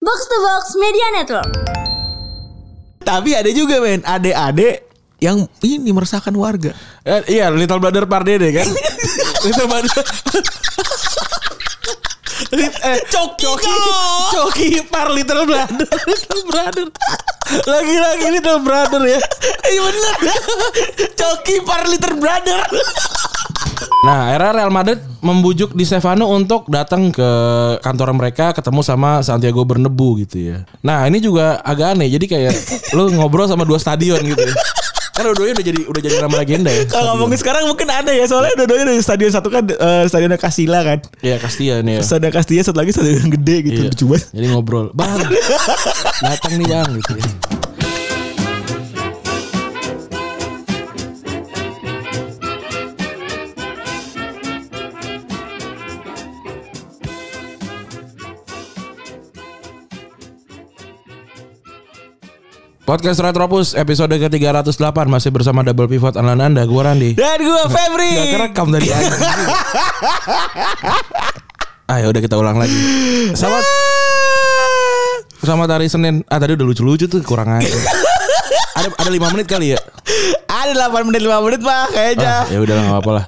Box to Box Media Network. Tapi ada juga men Adik-adik yang ini meresahkan warga. Eh, iya, Little Brother Pardede kan. Little Brother. Lit- eh, Coki Coki, dong. Coki Par Little Brother, Little Brother. Lagi-lagi Little Brother ya. Iya bener. Coki par liter brother. Nah, era Real Madrid membujuk Di Stefano untuk datang ke kantor mereka ketemu sama Santiago Bernabeu gitu ya. Nah, ini juga agak aneh. Jadi kayak lu ngobrol sama dua stadion gitu. Ya. Kan dua-duanya udah jadi udah jadi nama legenda ya. Kalau ngomongin sekarang mungkin ada ya soalnya dua-duanya dari stadion satu kan eh, stadion Kasila kan. Iya, Castilla nih ya. Stadion Kastilla satu lagi stadion gede gitu. Iya. Coba. Jadi ngobrol, bang, datang nih bang gitu. ya. Podcast Retropus episode ke-308 masih bersama Double Pivot Alan Anda, gua Randi. Dan gue Febri. Gak kerekam tadi Ayo udah kita ulang lagi Selamat Ah. Selamat hari Senin Ah tadi udah lucu-lucu tuh kurang aja Ada ada 5 menit kali ya Ada 8 menit 5 menit mah ah, kayaknya. Ya udah lah gak apa-apa lah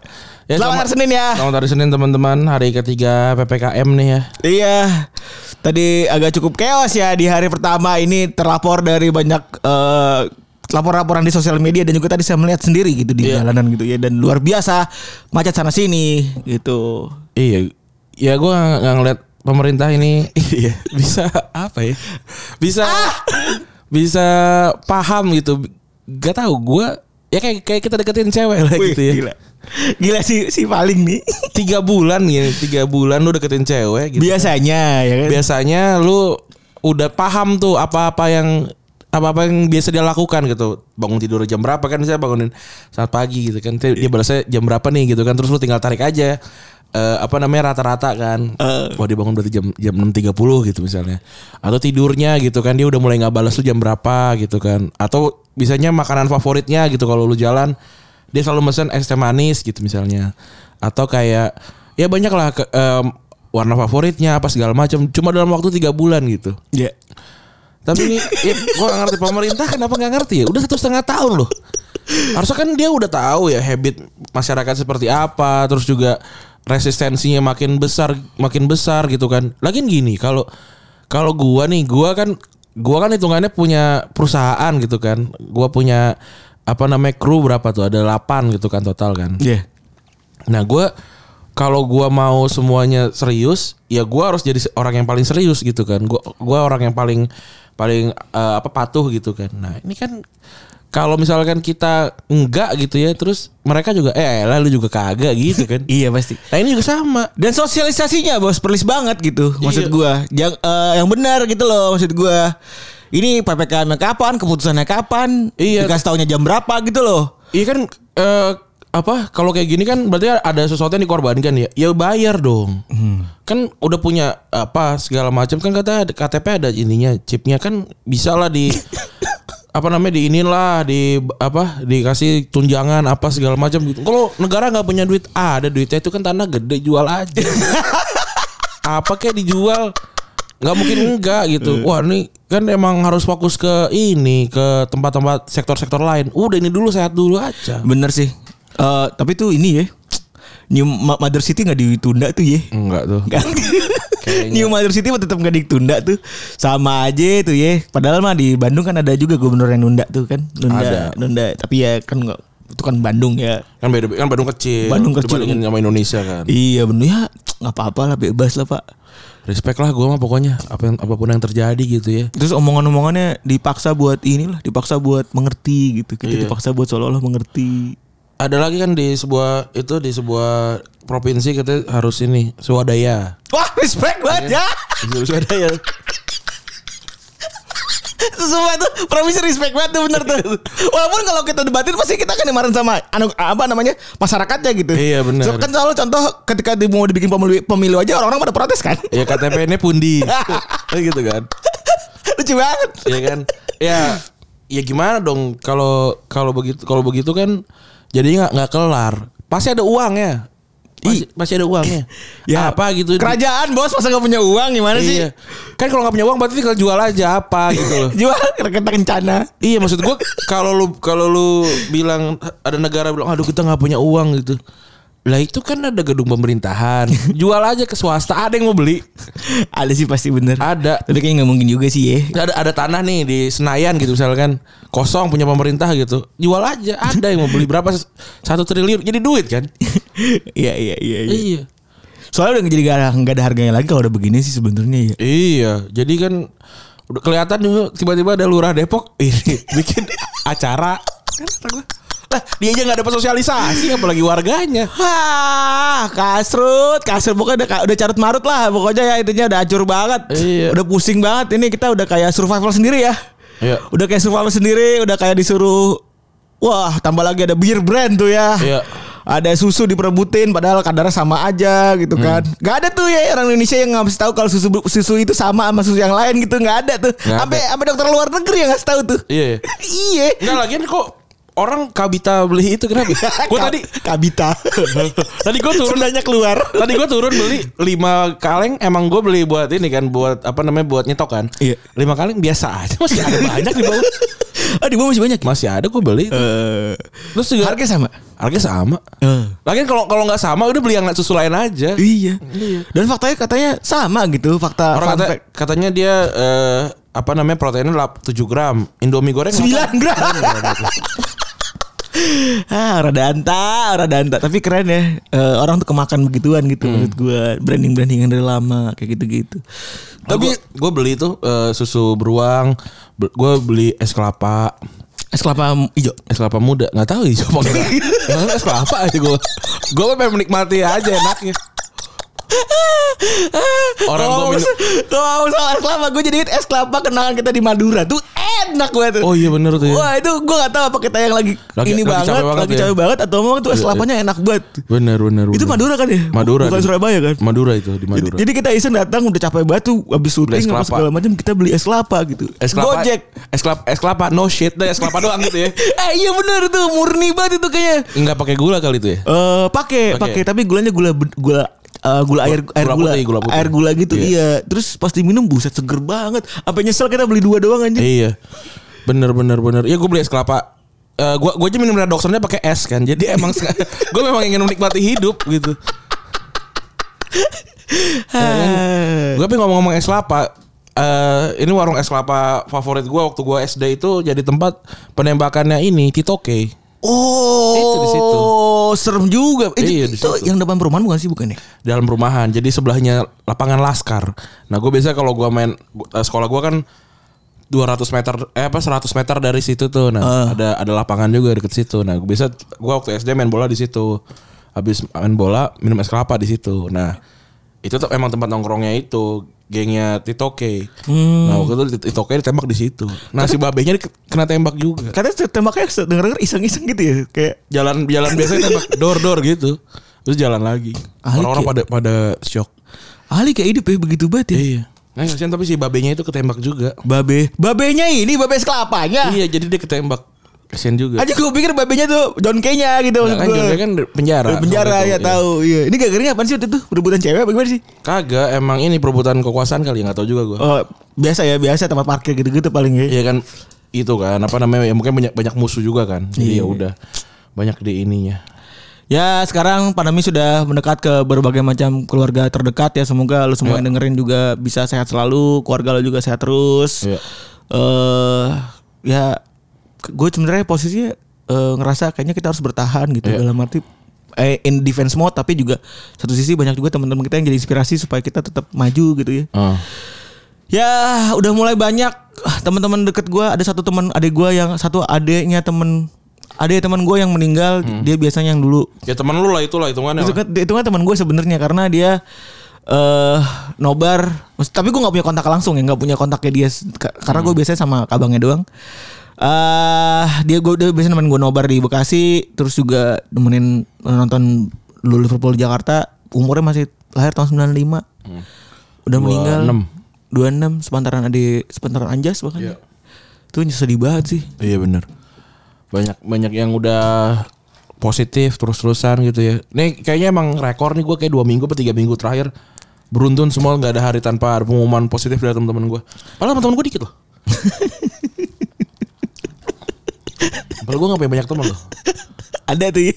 ya, Eh, Selamat hari Senin ya. Selamat hari Senin teman-teman Hari ketiga PPKM nih ya Iya. Tadi agak cukup chaos ya di hari pertama ini terlapor dari banyak eh, lapor-laporan di sosial media dan juga tadi saya melihat sendiri gitu di Iya. jalanan gitu ya dan luar biasa macet sana sini gitu. Iya Ya gue gak, gak ngeliat pemerintah ini Iya Bisa apa ya Bisa Ah! Bisa paham gitu Gak tahu gue Ya kayak, kayak kita deketin cewek lah Wih, gitu ya Gila. Gila si si paling nih. tiga bulan ya tiga bulan lu deketin cewek gitu Biasanya ya kan. biasanya lu udah paham tuh apa-apa yang apa-apa yang biasa dia lakukan gitu bangun tidur jam berapa kan misalnya bangunin saat pagi gitu kan Dia- dia balasnya jam berapa nih gitu kan terus lu tinggal tarik aja eh, apa namanya rata-rata kan wah dia bangun berarti jam jam 6.30 gitu misalnya atau tidurnya gitu kan dia udah mulai nggak balas lu jam berapa gitu kan atau bisanya makanan favoritnya gitu kalau lu jalan dia selalu mesen es teh manis gitu misalnya atau kayak ya banyak lah ke- em, warna favoritnya apa segala macam cuma dalam waktu tiga bulan gitu Iya. tapi ini ya, gue gak ngerti pemerintah kenapa gak ngerti ya udah satu setengah tahun loh harusnya kan dia udah tahu ya habit masyarakat seperti apa terus juga resistensinya makin besar makin besar gitu kan lagian gini kalau kalau gua nih gua kan gua kan hitungannya punya perusahaan gitu kan gua punya apa namanya kru berapa tuh ada 8 gitu kan total kan Iya. Nah gue kalau gue mau semuanya serius, ya gue harus jadi se- orang yang paling serius gitu kan. Gue gua orang yang paling paling eh, apa patuh gitu kan. Nah ini kan kalau misalkan kita enggak gitu ya, terus mereka juga eh lah lu juga kagak gitu kan. Iya pasti. Nah ini juga sama. Dan sosialisasinya bos perlis banget gitu Iya. maksud gua. Yang eh, yang benar gitu loh maksud gua. Ini PPKM kapan, keputusannya kapan, Iya. dikasih taunya jam berapa gitu loh. Iya kan eh, apa kalau kayak gini kan berarti ada sesuatu yang dikorbankan ya. Ya bayar dong. Kan udah punya apa segala macam kan kata KTP ada ininya, chipnya kan bisa lah di apa namanya di inilah di apa dikasih tunjangan apa segala macam gitu. Kalau negara nggak punya duit, ah, ada duitnya itu kan tanah gede jual aja. apa kayak dijual nggak mungkin enggak gitu wah ini kan emang harus fokus ke ini ke tempat-tempat sektor-sektor lain udah ini dulu sehat dulu aja Bener sih. Eh, tapi tuh ini ya. New Ma- Mother City nggak ditunda tuh ya. enggak tuh Kan? Kayaknya. New Mother City mah tetap nggak ditunda tuh. Sama aja tuh ya. Padahal mah di Bandung kan ada juga gubernur yang nunda tuh kan. Nunda, Ada. nunda. Tapi ya kan nggak itu kan Bandung ya. kan beda kan Bandung kecil Bandung kecil. dibandingin sama Indonesia kan Iya bener ya. Nggak apa-apa lah bebas lah pak. respect lah gue mah pokoknya apa yang apapun yang terjadi gitu ya Terus omongan-omongannya dipaksa buat inilah, dipaksa buat mengerti gitu. Iya. Kita dipaksa buat seolah-olah mengerti. ada lagi kan di sebuah itu di sebuah provinsi kita harus ini swadaya Wah, respect Iya. banget ya. swadaya Semua itu provinsi respect banget tuh bener Iya. tuh. Walaupun kalau kita debatin pasti kita kan dimarahin sama anu apa namanya? masyarakatnya gitu. Iya, bener. So, kan selalu contoh ketika di- mau dibikin pemilu, pemilu aja orang-orang pada protes kan. ya KTP ini pundi Kan gitu kan Lucu banget. ya kan ya ya gimana dong kalau kalau begitu kalau begitu kan jadi nggak nggak kelar pasti ada uangnya Masih, masih ada uangnya. Ya. Iya. apa gitu. Kerajaan bos masa nggak punya uang gimana sih? Iya. Kan kalau nggak punya uang berarti tinggal jual aja apa gitu loh. Jual kereta kencana. Iya maksud gue kalau lu kalau lu bilang ada negara bilang aduh kita nggak punya uang gitu. Lah itu kan ada gedung pemerintahan. Jual aja ke swasta, ada yang mau beli. Ada sih pasti bener. Ada. Tapi kayaknya nggak mungkin juga sih ya. Ada ada tanah nih di Senayan gitu misalkan kosong punya pemerintah gitu. Jual aja, ada yang mau beli berapa satu triliun jadi duit kan? Iya iya iya. iya. Iya. Soalnya udah jadi gak ada, nggak ada harganya lagi kalau udah begini sih sebenarnya ya. Iya, jadi kan udah kelihatan juga tiba-tiba ada lurah Depok ini bikin acara. Kan kata gua, Lah, dia aja nggak dapat sosialisasi apalagi warganya. Hah, kasrut, kasrut pokoknya udah, udah carut marut lah pokoknya ya intinya udah acur banget, Iya. udah pusing banget ini kita udah kayak survival sendiri ya, Iya. udah kayak survival sendiri, udah kayak disuruh, wah tambah lagi ada beer brand tuh ya, Iya. ada susu diperebutin padahal kadarnya sama aja gitu Hmm. kan, nggak ada tuh ya orang Indonesia yang nggak tahu kalau susu susu itu sama sama susu yang lain gitu nggak ada tuh, Nggak ada. sampai sampai dokter luar negeri yang nggak tahu tuh, Iya. iya, Enggak lagian kok orang kabita beli itu kenapa? Gue tadi kabita, tadi gue turun Sundanya keluar. tadi gue turun beli 5 kaleng emang gue beli buat ini kan buat apa namanya buat nyetok kan Iya. 5 kaleng biasa aja masih ada banyak di bawah Iya. Ah di bawah masih banyak. masih ada gue beli itu. Eh, terus juga harga sama. harga sama Eh. lagian kalau kalau nggak sama udah beli yang susu lain aja Iya. Dan faktanya katanya sama gitu fakta Orang fun kata, fact. katanya dia eh, apa namanya proteinnya lap- 7 gram, Indomie goreng 9 gram. Iya, ah, rada anta, rada anta. Tapi keren ya. Eh, orang tuh kemakan begituan gitu Hmm. menurut gua. Branding-brandingan dari lama kayak gitu-gitu. Tapi Tapi gue beli tuh eh, susu beruang, gue beli es kelapa, es kelapa hijau. es kelapa muda, nggak tahu hijau apa enggak. Yang es kelapa aja gue. Gue pengen menikmati aja enaknya. Orang oh, gue minum. Tuh, soal es kelapa gue jadi inget es kelapa kenangan kita di Madura tuh enak banget tuh. Oh iya bener tuh ya. Wah itu gue gak tahu apa kita yang lagi, Lagi- ini lagi banget, capek banget lagi ya. capek banget atau memang tuh es kelapanya enak banget. Bener bener. Itu bener. Madura kan ya? Madura. Bukan di- Surabaya kan? Madura itu di Jadi, Madura. jadi kita iseng datang udah capek banget tuh habis Beli es syuting apa kelapa. segala macam kita beli es kelapa gitu. es kelapa, Gojek. es kelapa, es kelapa no shit, deh, es kelapa doang gitu ya. Eh iya bener tuh murni banget itu kayaknya. Nggak pakai gula kali itu ya? Eh pakai Pakai. pakai tapi gulanya gula ben- gula eh, gula air air Gula gula, putih, gula putih. air gula gitu Iya. iya terus pas diminum buset seger banget apa nyesel kita beli dua doang anjing Iya. Bener bener bener. Ya gue beli es kelapa. Eh gue gue aja minum redoxonnya pakai es kan. Jadi emang gue memang ingin menikmati hidup gitu. Ah. Gue tapi ngomong-ngomong es kelapa. eh ini warung es kelapa favorit gue waktu gue SD itu jadi tempat penembakannya ini Titoke. oh Itu di situ. serem juga Eh, Iya, di itu situ. yang depan perumahan bukan sih bukan ya dalam perumahan. Jadi sebelahnya lapangan Laskar. Nah, gue biasa kalau gue main gua- eh, sekolah gue kan 200 meter eh apa 100 meter dari situ tuh. Nah, ada ada lapangan juga deket situ. Nah, gue biasa gue waktu SD main bola di situ. Habis main bola minum es kelapa di situ. Nah, itu tuh emang tempat nongkrongnya itu gengnya Titoke. Nah, waktu itu Titoke ditembak di situ. Nah, si babenya di- kena tembak juga. katanya tembaknya denger-denger iseng-iseng gitu ya kayak Jalan jalan biasanya tembak dor-dor gitu. Terus jalan lagi. Alik Orang-orang ya? pada pada shock. ahli kayak hidup ya begitu banget ya Iya. Nah, kasihan tapi si babenya itu ketembak juga. Babe. Babenya ini babe es kelapanya. Iya, jadi dia ketembak. Kasihan juga. Aja gue pikir babenya tuh John K-nya gitu Nah, maksud kan gue. juga kan di penjara. Dari penjara Waktu itu, ya tahu. Iya. Ini gara-gara apaan sih waktu itu? Perebutan cewek apa gimana sih? Kagak, emang ini perebutan kekuasaan kali nggak tahu juga gua. Oh, biasa ya, biasa tempat parkir gitu-gitu paling ya. Iya kan itu kan apa namanya ya mungkin banyak banyak musuh juga kan. Jadi ya Iya. udah banyak di ininya. Ya, sekarang pandemi sudah mendekat ke berbagai macam keluarga terdekat ya. Semoga lu semua yang dengerin juga bisa sehat selalu, keluarga lu juga sehat terus. Iya. Eh ya gue sebenarnya posisinya eh, ngerasa kayaknya kita harus bertahan gitu dalam arti eh, in defense mode tapi juga satu sisi banyak juga teman-teman kita yang jadi inspirasi supaya kita tetap maju gitu ya. Ah. Ya udah mulai banyak ah, teman-teman deket gue ada satu teman adik gue yang satu adiknya temen adik teman gue yang meninggal dia biasanya yang dulu Ya teman lu lah itulah hitungannya. itu lah. kan itu kan teman gue sebenarnya karena dia eh nobar Maksud- tapi gue nggak punya kontak langsung ya nggak punya kontaknya dia Ka- karena gue biasanya sama abangnya doang eh dia gue dia biasanya nemenin gue nobar di Bekasi terus juga nemenin nonton dulu Liverpool Jakarta umurnya masih lahir tahun 95 udah meninggal 26 sepantaran adik sepantaran Anjas bahkan Iya. itu sedih banget sih Iya bener Banyak banyak yang udah positif terus-terusan gitu ya. Nih kayaknya emang rekor nih gue kayak dua minggu atau tiga minggu terakhir beruntun semua nggak ada hari tanpa ada pengumuman positif dari teman-teman gue. Padahal teman-teman gue dikit loh. Padahal gue nggak punya banyak teman loh. Ada tuh ya.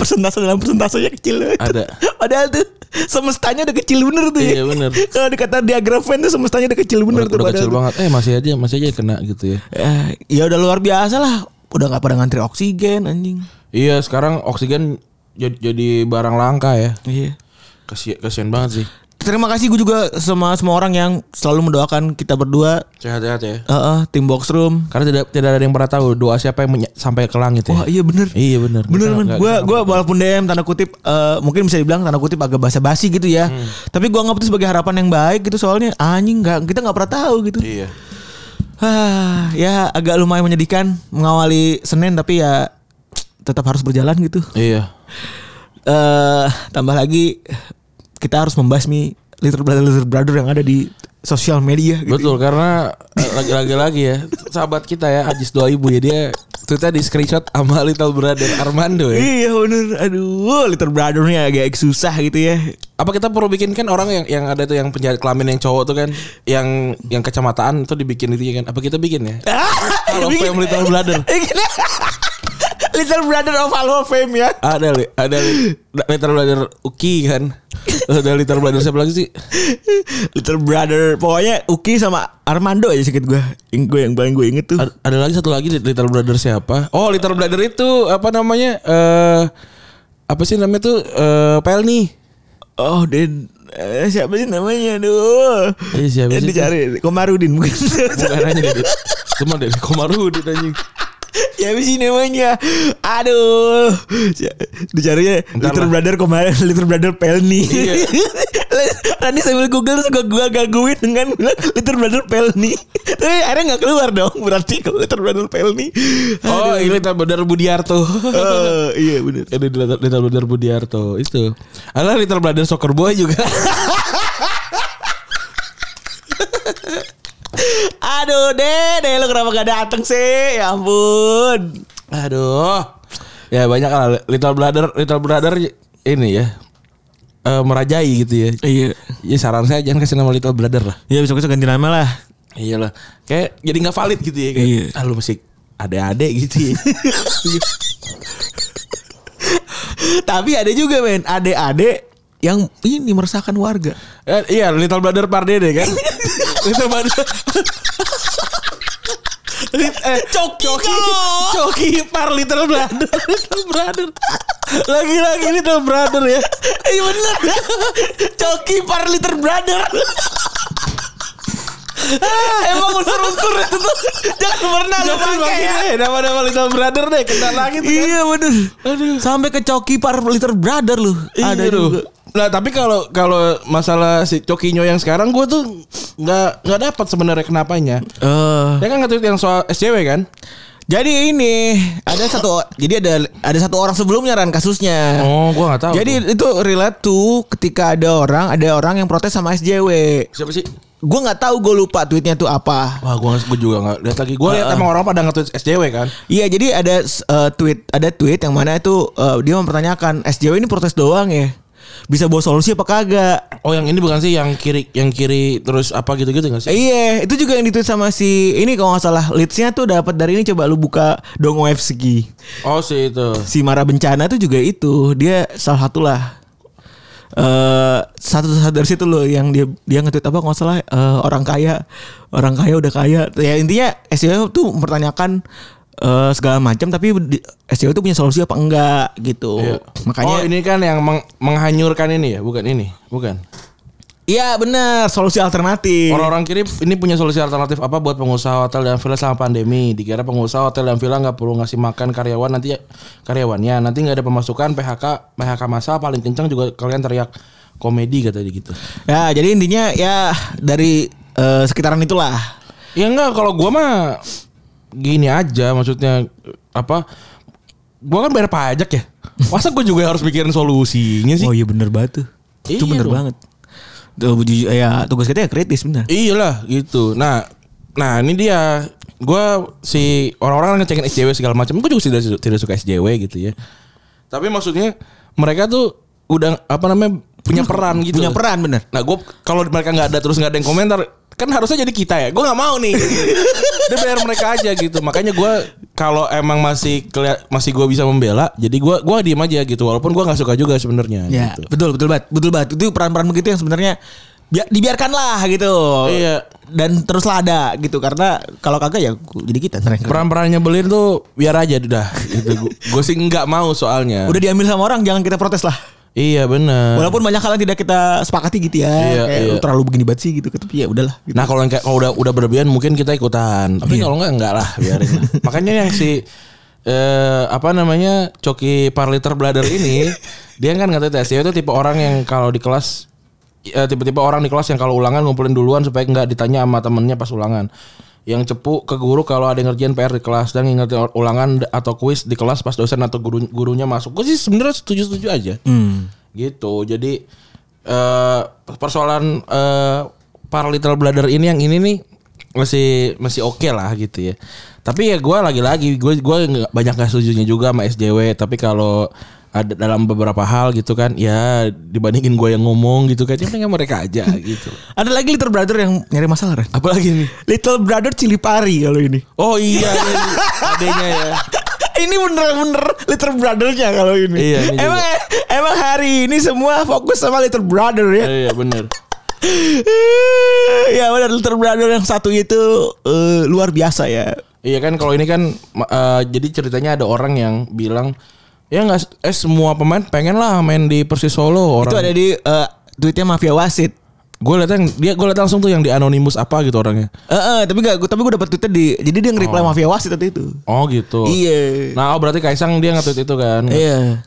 persentase dalam persentasenya kecil banget. Ada. Padahal tuh semestanya udah kecil bener tuh. ya. Iya, bener. Kalau dikata diagram fan tuh semestanya udah kecil Udah, bener tuh. udah padahal kecil tuh. banget. Eh masih aja masih aja kena gitu ya. Eh, ya udah luar biasa lah. Udah nggak pada ngantri oksigen anjing. Iya sekarang oksigen jadi, jadi barang langka ya. Iya. Kasian, kasian banget sih. Terima kasih gue juga sama semua orang yang selalu mendoakan kita berdua. Sehat-sehat ya. Eh, eh, tim box room. Karena tidak tidak ada yang pernah tahu doa siapa yang menya- sampai ke langit ya. Wah iya bener. Iya benar. Bener Kita men, nggak- gue gua walaupun DM tanda kutip eh, mungkin bisa dibilang tanda kutip agak basa-basi gitu ya. Hmm. Tapi gua anggap itu sebagai harapan yang baik gitu soalnya anjing nggak kita nggak pernah tahu gitu. Iya. Hah, ya agak lumayan menyedihkan mengawali Senin tapi ya tetap harus berjalan gitu. Iya. Eh tambah lagi kita harus membasmi little brother little brother yang ada di sosial media gitu. Betul karena eh, lagi-lagi lagi ya sahabat kita ya Ajis 2000 ya dia tweetnya di screenshot sama Little Brother Armando ya. Iya bener, aduh little brothernya agak susah gitu ya. Apa kita perlu bikin kan orang yang yang ada tuh yang penjahat kelamin yang cowok tuh kan yang yang kecamataan itu dibikin itu kan. Apa kita bikin ya? Halo Bikin- Fame Little Brother. little brother of Halo Fame ya. Ada li, ada li, Little Brother Uki kan. Terus Ada Little Brother siapa lagi sih? Little brother, pokoknya Uki sama Armando aja sedikit gue, yang gue yang paling gue inget tuh. Ada, ada lagi satu lagi Little Brother siapa? Oh, Little Brother itu apa namanya? Eh apa sih namanya tuh? Eh Pelni. Oh, Den eh, siapa sih namanya? Aduh. Iya, siapa Yang sih? dicari Komarudin mungkin. Bukan hanya dari cuma dari Komarudin anjing. siapa sih namanya? Aduh. Si- Dicarinya Ntar Little lah. Brother Komar Little Brother Pelni. Iya. Tadi sambil Google terus gue gangguin dengan bilang Little Brother Pelni. Tapi akhirnya nggak keluar dong. Berarti kalau Little Brother Pelni. Oh, ini Little Brother Budiarto. Eh, iya bener. Ini Little Little Brother Budiarto itu. Ada Little Brother Soccer Boy juga. Aduh deh, lo kenapa gak dateng sih? Ya ampun. Aduh. Ya banyak lah Little Brother Little Brother ini ya. eh, merajai gitu ya. Iya. Ya saran saya jangan kasih nama Little Brother lah. Ya besok-besok ganti nama lah. Iyalah. Kayak jadi nggak valid gitu ya. Kayak, Iya. Ah, lu masih ade-ade gitu ya. Tapi ada juga men Adik-adik Yang ini meresahkan warga Eh, iya, Little Brother Pardede kan. Little Brother. Lit- eh, Coki Coki, kok. Coki par Little Brother, Little Brother. Lagi-lagi Little Brother ya. Iya bener Coki par liter brother Ah, Emang unsur-unsur itu tuh Jangan pernah lo Jangan pakai pakai ya deh, nama-nama Little Brother deh, kena lagi tuh kan. Iya bener Sampai ke Coki par liter brother lu Ada juga. Nah tapi kalau kalau masalah si Cokinyo yang sekarang gue tuh nggak nggak dapat sebenarnya kenapanya. Eh, Dia kan nge-tweet yang soal SJW kan? Jadi ini ada satu jadi ada ada satu orang sebelumnya ran kasusnya. Oh, gua nggak tahu Jadi itu relate tuh ketika ada orang ada orang yang protes sama SJW. Siapa sih? Gue nggak tahu gue lupa tweetnya tuh apa. Wah, gua gua juga nggak lihat lagi. Gua lihat emang orang pada nge-tweet SJW kan. Iya jadi ada eh, tweet ada tweet yang mana itu eh, dia mempertanyakan SJW ini protes doang ya bisa bawa solusi apa kagak? Oh, yang ini bukan sih yang kiri yang kiri terus apa gitu-gitu nggak sih? Eh, Iya itu juga yang ditweet sama si ini kalau nggak salah leadsnya tuh dapat dari ini coba lu buka dong OFSG. Oh, sih itu. si Mara Bencana tuh juga itu dia salah satulah eh satu satu dari situ loh yang dia dia nge-tweet apa nggak salah eh, orang kaya orang kaya udah kaya ya intinya SEO tuh mempertanyakan eh, segala macam tapi di- SEO tuh punya solusi apa enggak gitu Iya. makanya Oh, ini kan yang meng- menghanyurkan ini ya, bukan ini. Bukan. iya benar solusi alternatif Orang-orang kiri ini punya solusi alternatif apa buat pengusaha hotel dan villa selama pandemi? Dikira pengusaha hotel dan villa nggak perlu ngasih makan karyawan nanti ya, karyawannya, nanti nggak ada pemasukan PHK PHK masa paling kencang juga kalian teriak komedi kata dia gitu. ya jadi intinya ya dari eh, sekitaran itulah Ya enggak kalau gua mah gini aja maksudnya apa? Gua kan bayar pajak ya. Masa gua juga harus mikirin solusinya sih? oh iya bener banget tuh itu Iya bener dong. banget tuh ju- ya tugas kita ya kritis bener Iya, Iyalah gitu. Nah, nah ini dia. Gua si orang-orang ngecekin SJW segala macam. Gue juga tidak tidak suka SJW gitu ya. Tapi maksudnya mereka tuh udah apa namanya punya peran gitu. Punya peran bener. Nah gue kalau mereka nggak ada terus nggak ada yang komentar kan harusnya jadi kita ya. Gue nggak mau nih. Dia biar mereka aja gitu. Makanya gue kalau emang masih kelia- masih gue bisa membela, jadi gue gua diem aja gitu. Walaupun gue nggak suka juga sebenarnya. Ya, Gitu. betul betul banget, betul banget. Itu peran-peran begitu yang sebenarnya bi- dibiarkanlah gitu. Iya. Dan teruslah ada gitu karena kalau kagak ya jadi kita sering. Peran-perannya belir tuh biar aja udah. Gitu. Gue sih nggak mau soalnya. Udah diambil sama orang jangan kita protes lah. Iya benar. Walaupun banyak hal yang tidak kita sepakati gitu ya, Iya, kayak iya. "Lu terlalu begini banget sih gitu, tapi ya udahlah. Gitu. Nah kalau yang kayak kalau udah udah berlebihan mungkin kita ikutan. Tapi kalau enggak enggak lah biarin. lah. Makanya yang si eh apa namanya Coki Parliter Blader ini dia kan nggak tes dia itu tipe orang yang kalau di kelas eh, tipe-tipe orang di kelas yang kalau ulangan ngumpulin duluan supaya nggak ditanya sama temennya pas ulangan yang cepu ke guru kalau ada yang ngerjain PR di kelas dan ngingetin ulangan atau kuis di kelas pas dosen atau guru gurunya masuk gue sih sebenarnya setuju setuju aja gitu jadi eh persoalan eh para little brother ini yang ini nih masih masih oke lah gitu ya tapi ya gue lagi-lagi gue gue nggak- banyak nggak setujunya juga sama SJW tapi kalau ada dalam beberapa hal gitu kan ya dibandingin gue yang ngomong gitu kan ya mendingan mereka aja gitu Ada lagi Little Brother yang nyari masalah, Ren. apalagi nih Little Brother Cilipari kalau ini. oh iya ini adanya ya ini bener-bener Little Brothernya kalau ini. Iya, ini juga. emang emang hari ini semua fokus sama Little Brother ya. Eh, iya bener ya benar Little Brother yang satu itu eh, luar biasa ya. Iya kan kalau ini kan ma- eh, jadi ceritanya ada orang yang bilang ya nggak eh semua pemain pengen lah main di Persis Solo orang. Itu ada di eh, tweetnya Mafia Wasit. Gue liat yang dia gue liat langsung tuh yang di Anonymous apa gitu orangnya. Eh, eh, tapi gak, tapi gue dapet tweetnya di, jadi dia nge-reply Mafia Wasit waktu itu. Oh gitu. Iya. Nah, oh berarti Kaisang dia nge-tweet itu kan. Iya.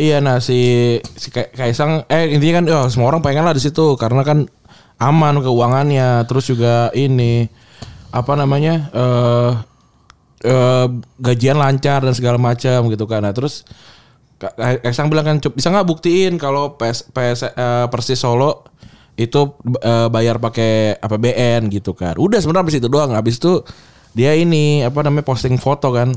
Iya nah si si Ka- Kaisang eh intinya kan oh, semua orang pengen lah di situ karena kan aman keuangannya terus juga ini apa namanya eh eh, gajian lancar dan segala macam gitu kan. Nah, terus Ka- Ka- Kaisang bilang kan "Cup, bisa nggak buktiin kalau PS, PS eh, Persis Solo itu eh, bayar pakai APBN gitu kan. Udah sebenarnya habis itu doang. Habis itu dia ini apa namanya posting foto kan.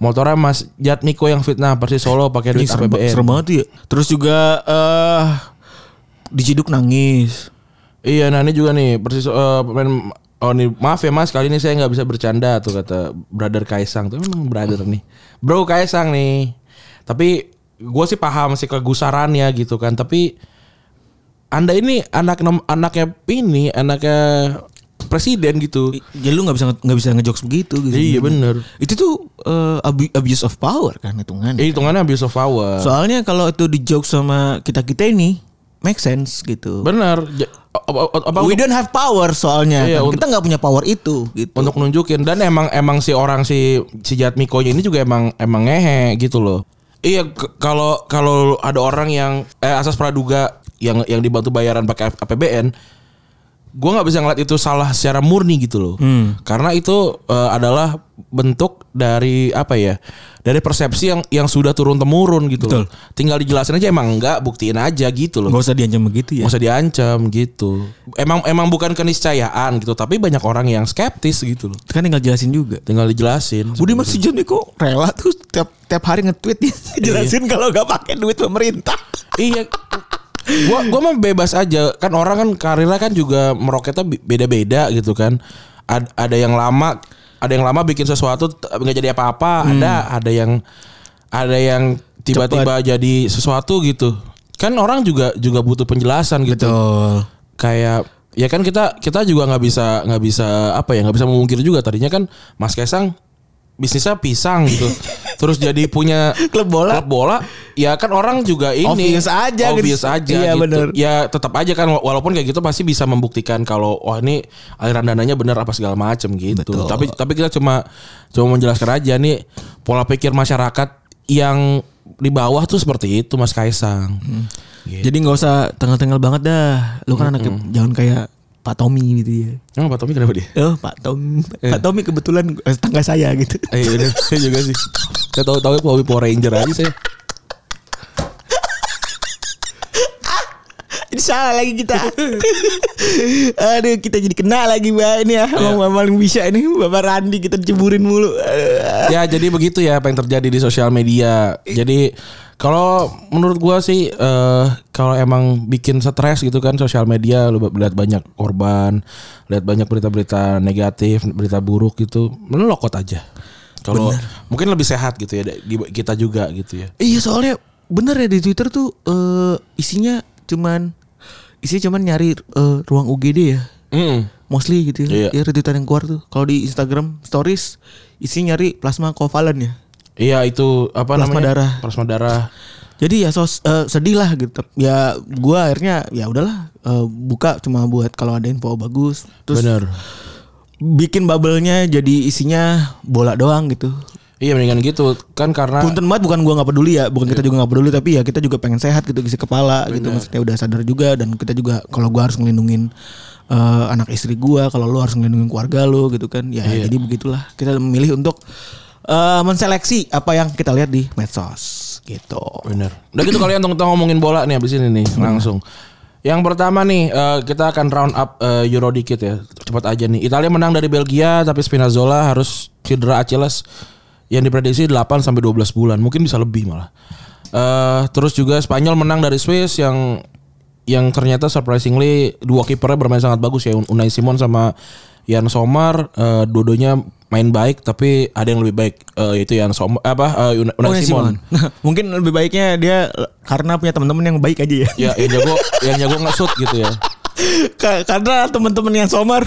Motornya Mas Jatmiko yang fitnah Persis Solo pakai duit serem, APBN. serem banget ya. Terus juga eh diciduk nangis. Iya, nah ini juga nih persis eh, pemain oh nih maaf ya Mas, kali ini saya nggak bisa bercanda tuh kata brother Kaisang tuh memang brother nih. Bro Kaisang nih. Tapi gue sih paham sih kegusarannya gitu kan, tapi Anda ini anak nom- anaknya ini, anaknya presiden gitu. Jadi ya lu nggak bisa nggak bisa ngejokes begitu gitu. Iya bener. Itu tuh eh, abu- abuse of power kan hitungannya. Eh, hitungannya abuse of power. Soalnya kalau itu di joke sama kita kita ini make sense gitu. bener. Ja- apa- apa- apa- We don't have power soalnya. Iya, kan. untuk- Kita nggak punya power itu gitu. untuk nunjukin dan emang emang si orang si si Jatmikonya ini juga emang emang ngehe gitu loh. Iya k- kalau kalau ada orang yang eh, asas praduga yang yang dibantu bayaran pakai APBN gua nggak bisa ngeliat itu salah secara murni gitu loh. Karena itu eh, adalah bentuk dari apa ya? Dari persepsi yang yang sudah turun temurun gitu loh. Tinggal dijelasin aja emang enggak, buktiin aja gitu loh. Gak usah diancam begitu ya. Nggak usah diancam gitu. Emang emang bukan keniscayaan gitu, tapi banyak orang yang skeptis gitu loh. Kan tinggal jelasin juga. Tinggal dijelasin. Budi Mas Sujon nih kok rela tuh tiap tiap hari nge-tweet dia jelasin kalau nggak pakai duit pemerintah. iya. Gua gua mah bebas aja. Kan orang kan karirnya kan juga meroketnya bi- beda-beda gitu kan. Ad- ada yang lama, ada yang lama bikin sesuatu t- nggak jadi Hmm. apa-apa, ada ada yang ada yang tiba-tiba jadi sesuatu gitu. Kan orang juga juga butuh penjelasan gitu. Betul. kayak ya kan kita kita juga nggak bisa nggak bisa apa ya nggak bisa memungkir juga tadinya kan Mas Kaisang bisnisnya pisang gitu terus jadi punya Klub bola. klub bola ya kan orang juga ini Obvious aja gitu. obvious aja Iya, gitu bener. ya tetap aja kan wa- walaupun kayak gitu pasti bisa membuktikan kalau wah ini aliran dananya benar apa segala macem gitu Betul. tapi tapi kita cuma cuma menjelaskan aja nih pola pikir masyarakat yang di bawah tuh seperti itu Mas Kaisang Hmm. Gitu. Jadi nggak usah tengah-tengah banget dah. Lu kan anak jangan kayak Pak Tommy gitu ya. emang Pak Tommy kenapa dia Oh Pak Tom, Pak Tommy kebetulan eh, tetangga saya gitu. Eh, iya bener. saya juga sih. Saya tahu-tahu Power Power Ranger aja saya. Jadi salah lagi kita. Aduh, kita jadi kena lagi mbak ini ya. Emang Bapak paling bisa ini Bapak Randi kita diceburin mulu. Eh, Aduh. ya jadi begitu ya apa yang terjadi di sosial media jadi kalau menurut gua sih eh kalau emang bikin stres gitu kan sosial media lu lihat banyak korban lihat banyak berita-berita negatif berita buruk gitu lu lokot aja kalau mungkin lebih sehat gitu ya di kita juga gitu ya Iya soalnya bener ya di Twitter tuh eh, isinya cuman isinya cuman nyari eh, ruang UGD ya. Mostly gitu Iya. ya. Ya retweetan yang keluar tuh. Kalau di Instagram stories isinya nyari plasma kovalen ya. iya itu apa Plasma namanya darah. plasma darah Jadi ya sos eh, sedih lah gitu. Ya gua akhirnya ya udahlah eh, buka cuma buat kalau ada info bagus. Terus bener bikin bubble-nya jadi isinya bola doang gitu. iya mendingan gitu kan karena Punten banget bukan gua nggak peduli ya, Iya. bukan kita juga nggak peduli tapi ya kita juga pengen sehat gitu isi kepala gitu maksudnya udah sadar juga dan kita juga kalau gua harus ngelindungin eh, anak istri gua, kalau lu harus ngelindungin keluarga lu gitu kan. Ya Iya. jadi begitulah kita memilih untuk eh, menseleksi apa yang kita lihat di medsos gitu. Bener. Udah gitu kalian kita ngomongin bola nih abis ini nih langsung. Yang pertama nih eh, kita akan round up eh, Euro dikit ya. Cepat aja nih. Italia menang dari Belgia tapi Spinazzola harus cedera Achilles yang diprediksi 8 sampai 12 bulan. Mungkin bisa lebih malah. eh terus juga Spanyol menang dari Swiss yang yang ternyata surprisingly dua kipernya bermain sangat bagus ya Un- Unai Simon sama Jan Sommer eh, dua-duanya main baik tapi ada yang lebih baik Eh, itu Jan Sommer apa eh, Una- Unai Simon. Mungkin lebih baiknya dia karena punya teman-teman yang baik aja ya. ya yang jago yang jago ngesut gitu ya Ka- karena teman-teman yang somar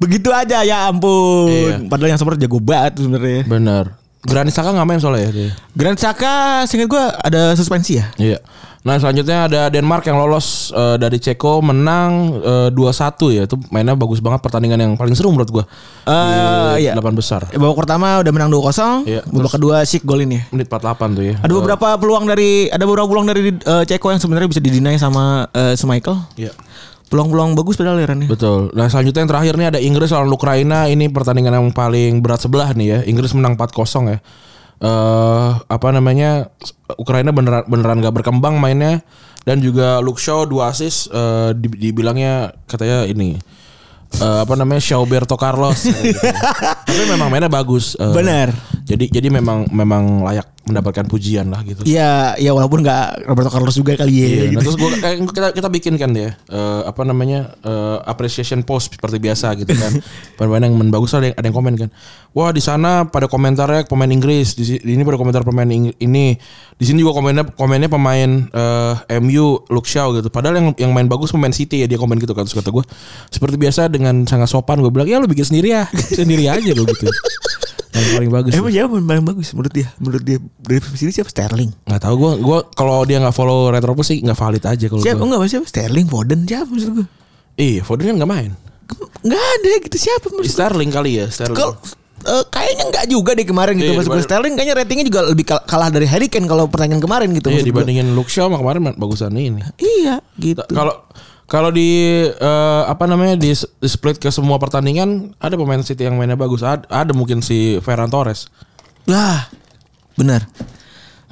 begitu aja ya ampun. Iya. Padahal yang somar jago banget sebenarnya. bener Granit Saka nggak main soalnya ya dia Grand Saka singkat gua ada suspensi ya. iya nah selanjutnya ada Denmark yang lolos eh, dari Ceko menang eh, 2-1 ya itu mainnya bagus banget pertandingan yang paling seru menurut gua Eh iya. delapan besar Babak pertama udah menang 2-0. Iya, babak kedua sik golin ya. menit 48 tuh ya Ada beberapa peluang dari ada beberapa peluang dari eh, Ceko yang sebenarnya bisa didinai sama eh, Semichael. Iya. Peluang-peluang bagus padahal ya, lerannya. Betul. Nah selanjutnya yang terakhir nih ada Inggris lawan Ukraina. Ini pertandingan yang paling berat sebelah nih ya. Inggris menang 4-0 ya. Eh apa namanya Ukraina beneran beneran gak berkembang mainnya dan juga Luke Shaw dua assist eh, di- dibilangnya katanya ini eh, apa namanya Shawberto Carlos katanya gitu. tapi memang mainnya bagus Eh, Bener. jadi jadi memang memang layak mendapatkan pujian lah gitu Iya, ya walaupun nggak Roberto Carlos juga kali ya. Iya, nah, gitu. terus gua eh, kita kita bikin kan ya eh, apa namanya eh, appreciation post seperti biasa gitu kan. Pemain yang main bagus ada yang, ada yang komen kan. Wah di sana pada komentarnya pemain Inggris, di si- di ini pada komentar pemain Ing- ini, di sini juga komennya komennya pemain eh, MU Luke Shaw gitu. Padahal yang yang main bagus pemain City ya dia komen gitu kan. Terus kata gue seperti biasa dengan sangat sopan gue bilang ya lu bikin sendiri ya sendiri aja lo gitu. Yang paling bagus. Emang siapa yang paling bagus menurut dia? Menurut dia dari sini siapa Sterling? Nggak tahu gue gue kalau dia nggak follow Retropus sih nggak valid aja kalau Siapa gue. enggak siapa Sterling Foden siapa maksud gue? Iya, Foden kan nggak main. Enggak ada gitu siapa maksud Sterling kali ya Sterling. Kalau eh, kayaknya enggak juga deh kemarin gitu Iya, maksud gue dibanding- Sterling kayaknya ratingnya juga lebih kal- kalah dari Harry Kane kalau pertandingan kemarin gitu iya maksud gue. dibandingin Luke Shaw sama kemarin bagusan ini. Iya gitu. Kalau kalau di eh, apa namanya di, di split ke semua pertandingan ada pemain City yang mainnya bagus. Ada, ada mungkin si Ferran Torres. Lah benar.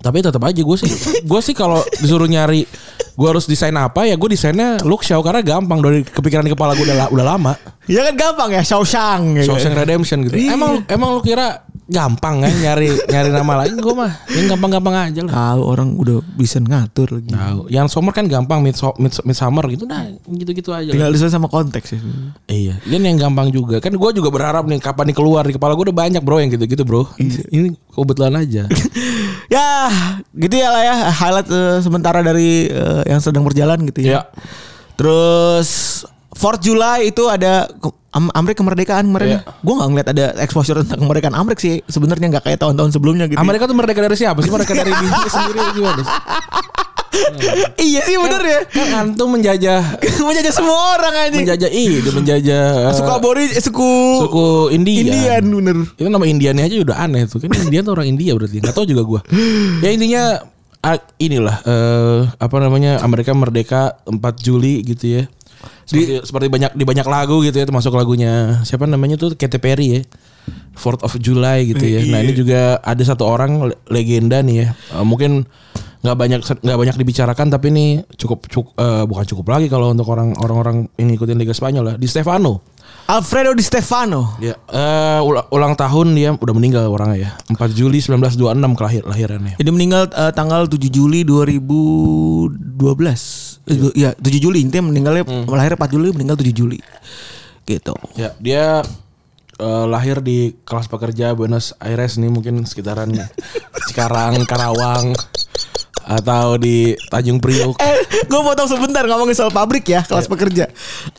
Tapi tetap aja gue sih gue sih kalau disuruh nyari gue harus desain apa ya gue desainnya Luke Shaw karena gampang dari kepikiran di kepala gue udah la- udah lama. Ya kan gampang ya Shawshank ya. Shawshank Redemption gitu. Iya. Emang emang lu kira gampang ya nyari nyari nama lain gue mah yang gampang-gampang aja lah. Tahu orang udah bisa ngatur lagi. Tahu. Yang Sommer kan gampang mid, mid, midsummer gitu nah gitu-gitu aja. lah. Tinggal disesuaikan sama konteks ya. Iya, dan yang gampang juga. Kan gue juga berharap nih kapan nih keluar di kepala gue udah banyak bro yang gitu-gitu bro. Ini kebetulan aja. ya, gitu ya lah ya highlight eh, sementara dari eh, yang sedang berjalan gitu ya. Iya. Terus 4 Juli itu ada ke- Am- Amrik kemerdekaan Iya. kemarin. Gue nggak ngeliat ada exposure tentang kemerdekaan Amrik sih. Sebenarnya nggak kayak tahun-tahun sebelumnya gitu. Amerika tuh merdeka dari siapa sih? Merdeka dari diri sendiri atau gimana? sih? iya sih bener ya. Kan antum menjajah Menjajah semua orang aja. menjajah ide, menjajah eh, suku abori, eh, suku, suku Indian. Indian bener. Itu nama Indiannya aja udah aneh tuh. Kan Indian tuh orang India berarti. Enggak tahu juga gua. Ya intinya ah, inilah eh, apa namanya Amerika merdeka 4 Juli gitu ya. Seperti, seperti banyak di banyak lagu gitu ya termasuk lagunya siapa namanya tuh Katy Perry ya. 4th of July gitu ya. Nah, ini juga ada satu orang le- legenda nih ya. Eh, mungkin nggak banyak nggak banyak dibicarakan tapi ini cukup cukup eh, bukan cukup lagi kalau untuk orang orang-orang yang ngikutin Liga Spanyol ya. Di Stefano. Alfredo Di Stefano. Ya, eh, ula- ulang tahun dia udah meninggal orangnya ya. 4 Juli 1926 kelahir lahirannya. Dia meninggal eh, tanggal 7 Juli 2012. Eh, du- Ya, 7 Juli intinya meninggalnya lahir 4 Juli meninggal 7 Juli. Gitu. Ya, dia eh, lahir di kelas pekerja Buenos Aires nih mungkin sekitaran Cikarang, Karawang atau di Tanjung Priok. Eh, gue potong sebentar ngomongin soal pabrik ya, kelas pekerja.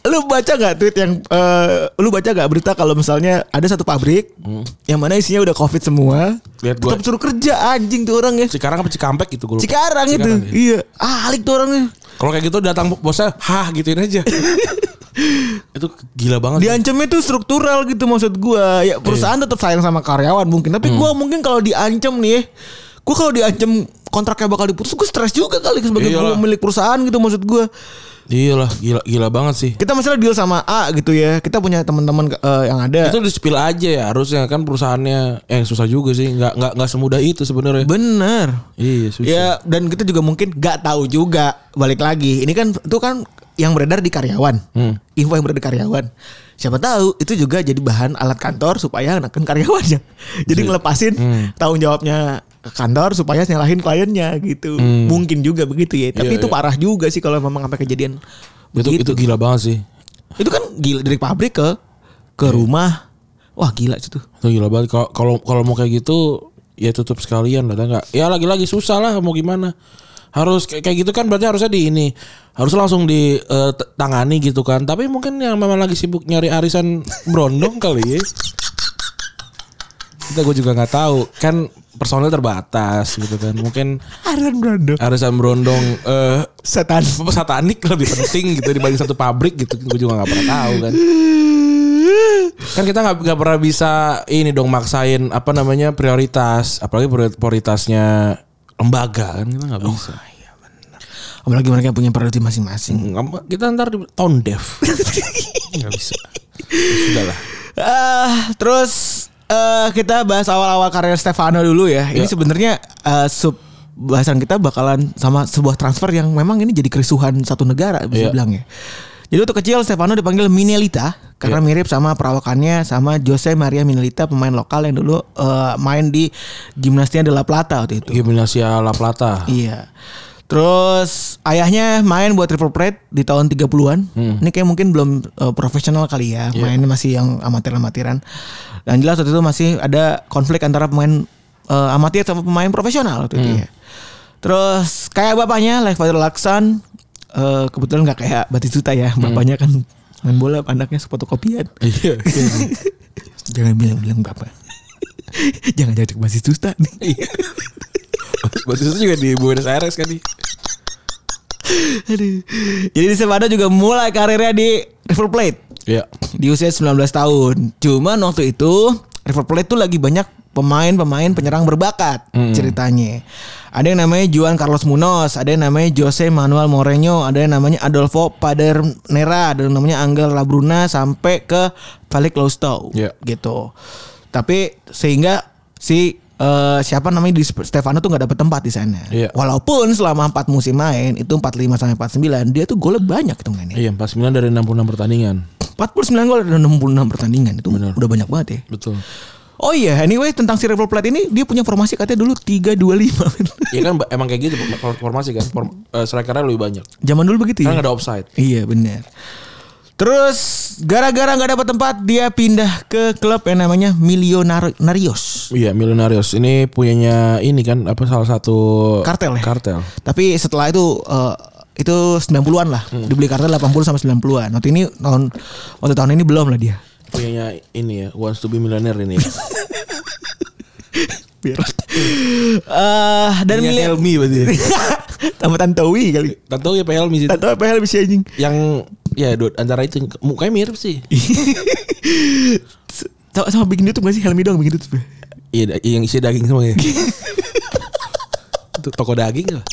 Lu baca nggak tweet yang eh, lu baca nggak berita kalau misalnya ada satu pabrik yang mana isinya udah covid semua, Lihat Hmm. gua- tetap suruh kerja anjing tuh orang ya. Cikarang apa Cikampek gitu gue. lupa. Cikarang, itu. Cikarang, ya. Iya. Ah, alik tuh orangnya. Kalau kayak gitu datang bosnya, hah gituin aja. itu gila banget. Diancamnya tuh struktural gitu maksud gua. Iya. Ya perusahaan tetap sayang sama karyawan mungkin, Hmm. tapi gua mungkin kalau diancam nih ya, Gua kalau diancam kontraknya bakal diputus, gua stres juga kali sebagai Iyalah. pemilik perusahaan gitu maksud gua. Iya lah, gila gila banget sih. Kita misalnya deal sama A gitu ya. Kita punya teman-teman eh, yang ada. Itu di spill aja ya harusnya kan perusahaannya eh susah juga sih, nggak nggak nggak semudah itu sebenarnya. Bener. Iya, susah. Ya dan kita juga mungkin gak tahu juga balik lagi. Ini kan itu kan yang beredar di karyawan. Hmm. Info yang beredar di karyawan. Siapa tahu itu juga jadi bahan alat kantor supaya enakan karyawannya. Jadi Iya. ngelepasin Hmm. tanggung jawabnya ke kantor supaya nyalahin kliennya gitu. Mungkin juga begitu ya. Tapi Hmm. Iya, itu iya. parah juga sih kalau memang sampai kejadian Itu begitu. itu gila banget sih. Itu kan gila dari pabrik ke ke Iya. rumah. Wah gila itu. Itu gila banget. Kalau kalau kalau mau kayak gitu ya tutup sekalian lah, enggak. Ya lagi-lagi susah lah mau gimana. Harus kayak kayak gitu kan berarti harusnya di ini harus langsung ditangani gitu kan. Tapi mungkin yang memang lagi sibuk nyari arisan brondong kali ya. Kita gue juga nggak tahu kan personil terbatas gitu kan. Mungkin Aran Brando. arisan brondong eh Setan. satanik lebih penting gitu dibanding satu pabrik gitu gue juga nggak pernah tahu kan kan kita nggak nggak pernah bisa ini dong maksain apa namanya prioritas apalagi priori- prioritasnya lembaga kan kita nggak bisa Apalagi mereka punya prioritas masing-masing. Nggak- kita ntar di tahun dev nggak bisa Ya sudah lah Ah, terus eh, kita bahas awal-awal karir Stefano dulu ya. Ini Ya. sebenarnya eh, sub bahasan kita bakalan sama sebuah transfer yang memang ini jadi kerusuhan satu negara Ya. bisa bilang ya. Jadi waktu kecil Stefano dipanggil Minelita karena mirip sama perawakannya sama Jose Maria Minelita pemain lokal yang dulu eh, main di Gimnasia de la Plata waktu itu. Gimnasia La Plata Iya. Terus ayahnya main buat River Plate di tahun 30-an. Ini kayak mungkin belum eh, profesional kali ya. Main masih yang amatir-amatiran. Dan jelas waktu itu masih ada konflik antara pemain eh, amatir sama pemain profesional waktu itu ya. Terus kayak bapaknya Lev Laksan eh, kebetulan nggak kayak Batistuta ya. Bapaknya kan main bola, anaknya sepatokopian. iya Jangan bilang-bilang bapak. Jangan jadi Batistuta nih. Bahasa itu juga di Buenos Aires kan nih Aduh. Jadi di Stefano juga mulai karirnya di River Plate Iya di usia 19 tahun. Cuman waktu itu River Plate tuh lagi banyak pemain-pemain penyerang berbakat ceritanya. Ada yang namanya Juan Carlos Munoz, ada yang namanya Jose Manuel Moreno, ada yang namanya Adolfo Padernera, ada yang namanya Angel Labruna sampai ke Felix Lostau Iya. gitu. Tapi sehingga si eh, siapa namanya di Sp- Stefano tuh nggak dapet tempat di sana. Iya. Walaupun selama 4 musim main itu 45 sampai 49 dia tuh golnya banyak hitungannya. iya 49 dari 66 pertandingan 49 gol dan 66 pertandingan itu udah banyak banget ya. betul Oh iya, anyway tentang si River Plate ini dia punya formasi katanya dulu 325. Iya kan emang kayak gitu formasi kan Form, eh, strikernya lebih banyak Zaman dulu begitu Karena ya. nggak ada offside. Iya benar. Terus gara-gara nggak dapat tempat dia pindah ke klub yang namanya Millonarios. Iya, Millonarios ini punyanya ini kan apa salah satu Kartel ya? Kartel. Tapi setelah itu eh, itu 90-an lah. Dibeli kartel 80 sama 90-an. Waktu ini tahun waktu tahun ini belum lah dia. Punyanya ini ya, wants to be millionaire ini. Ya, Biar. Hmm. Eh, dan Punya Mili- Helmi berarti. ya. Tambah Tantowi kali. Tahu ya Pak Helmi sih. Tantowi apa lebih sih anjing? Yang ya do- antara itu mukanya mirip sih. sama, sama bikin YouTube gak sih Helmi dong bikin YouTube ya? Iya, da- yang isi daging semua ya. Itu toko daging apa?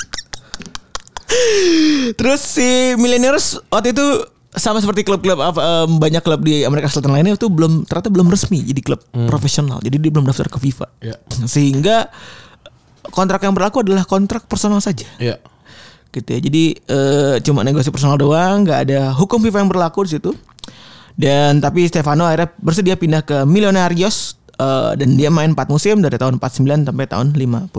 Terus si Millionaires waktu itu sama seperti klub-klub apa, em, banyak klub di Amerika Selatan lainnya itu belum Hmm. Ya. ternyata belum resmi jadi klub profesional jadi dia belum daftar ke FIFA Iya. sehingga kontrak yang berlaku adalah kontrak personal saja. Iya. gitu ya. Jadi eh, cuma negosiasi personal doang, nggak ada hukum FIFA yang berlaku di situ. Dan tapi Stefano akhirnya bersedia pindah ke Millonarios eh, dan dia main 4 musim dari tahun 49 sampai tahun 53.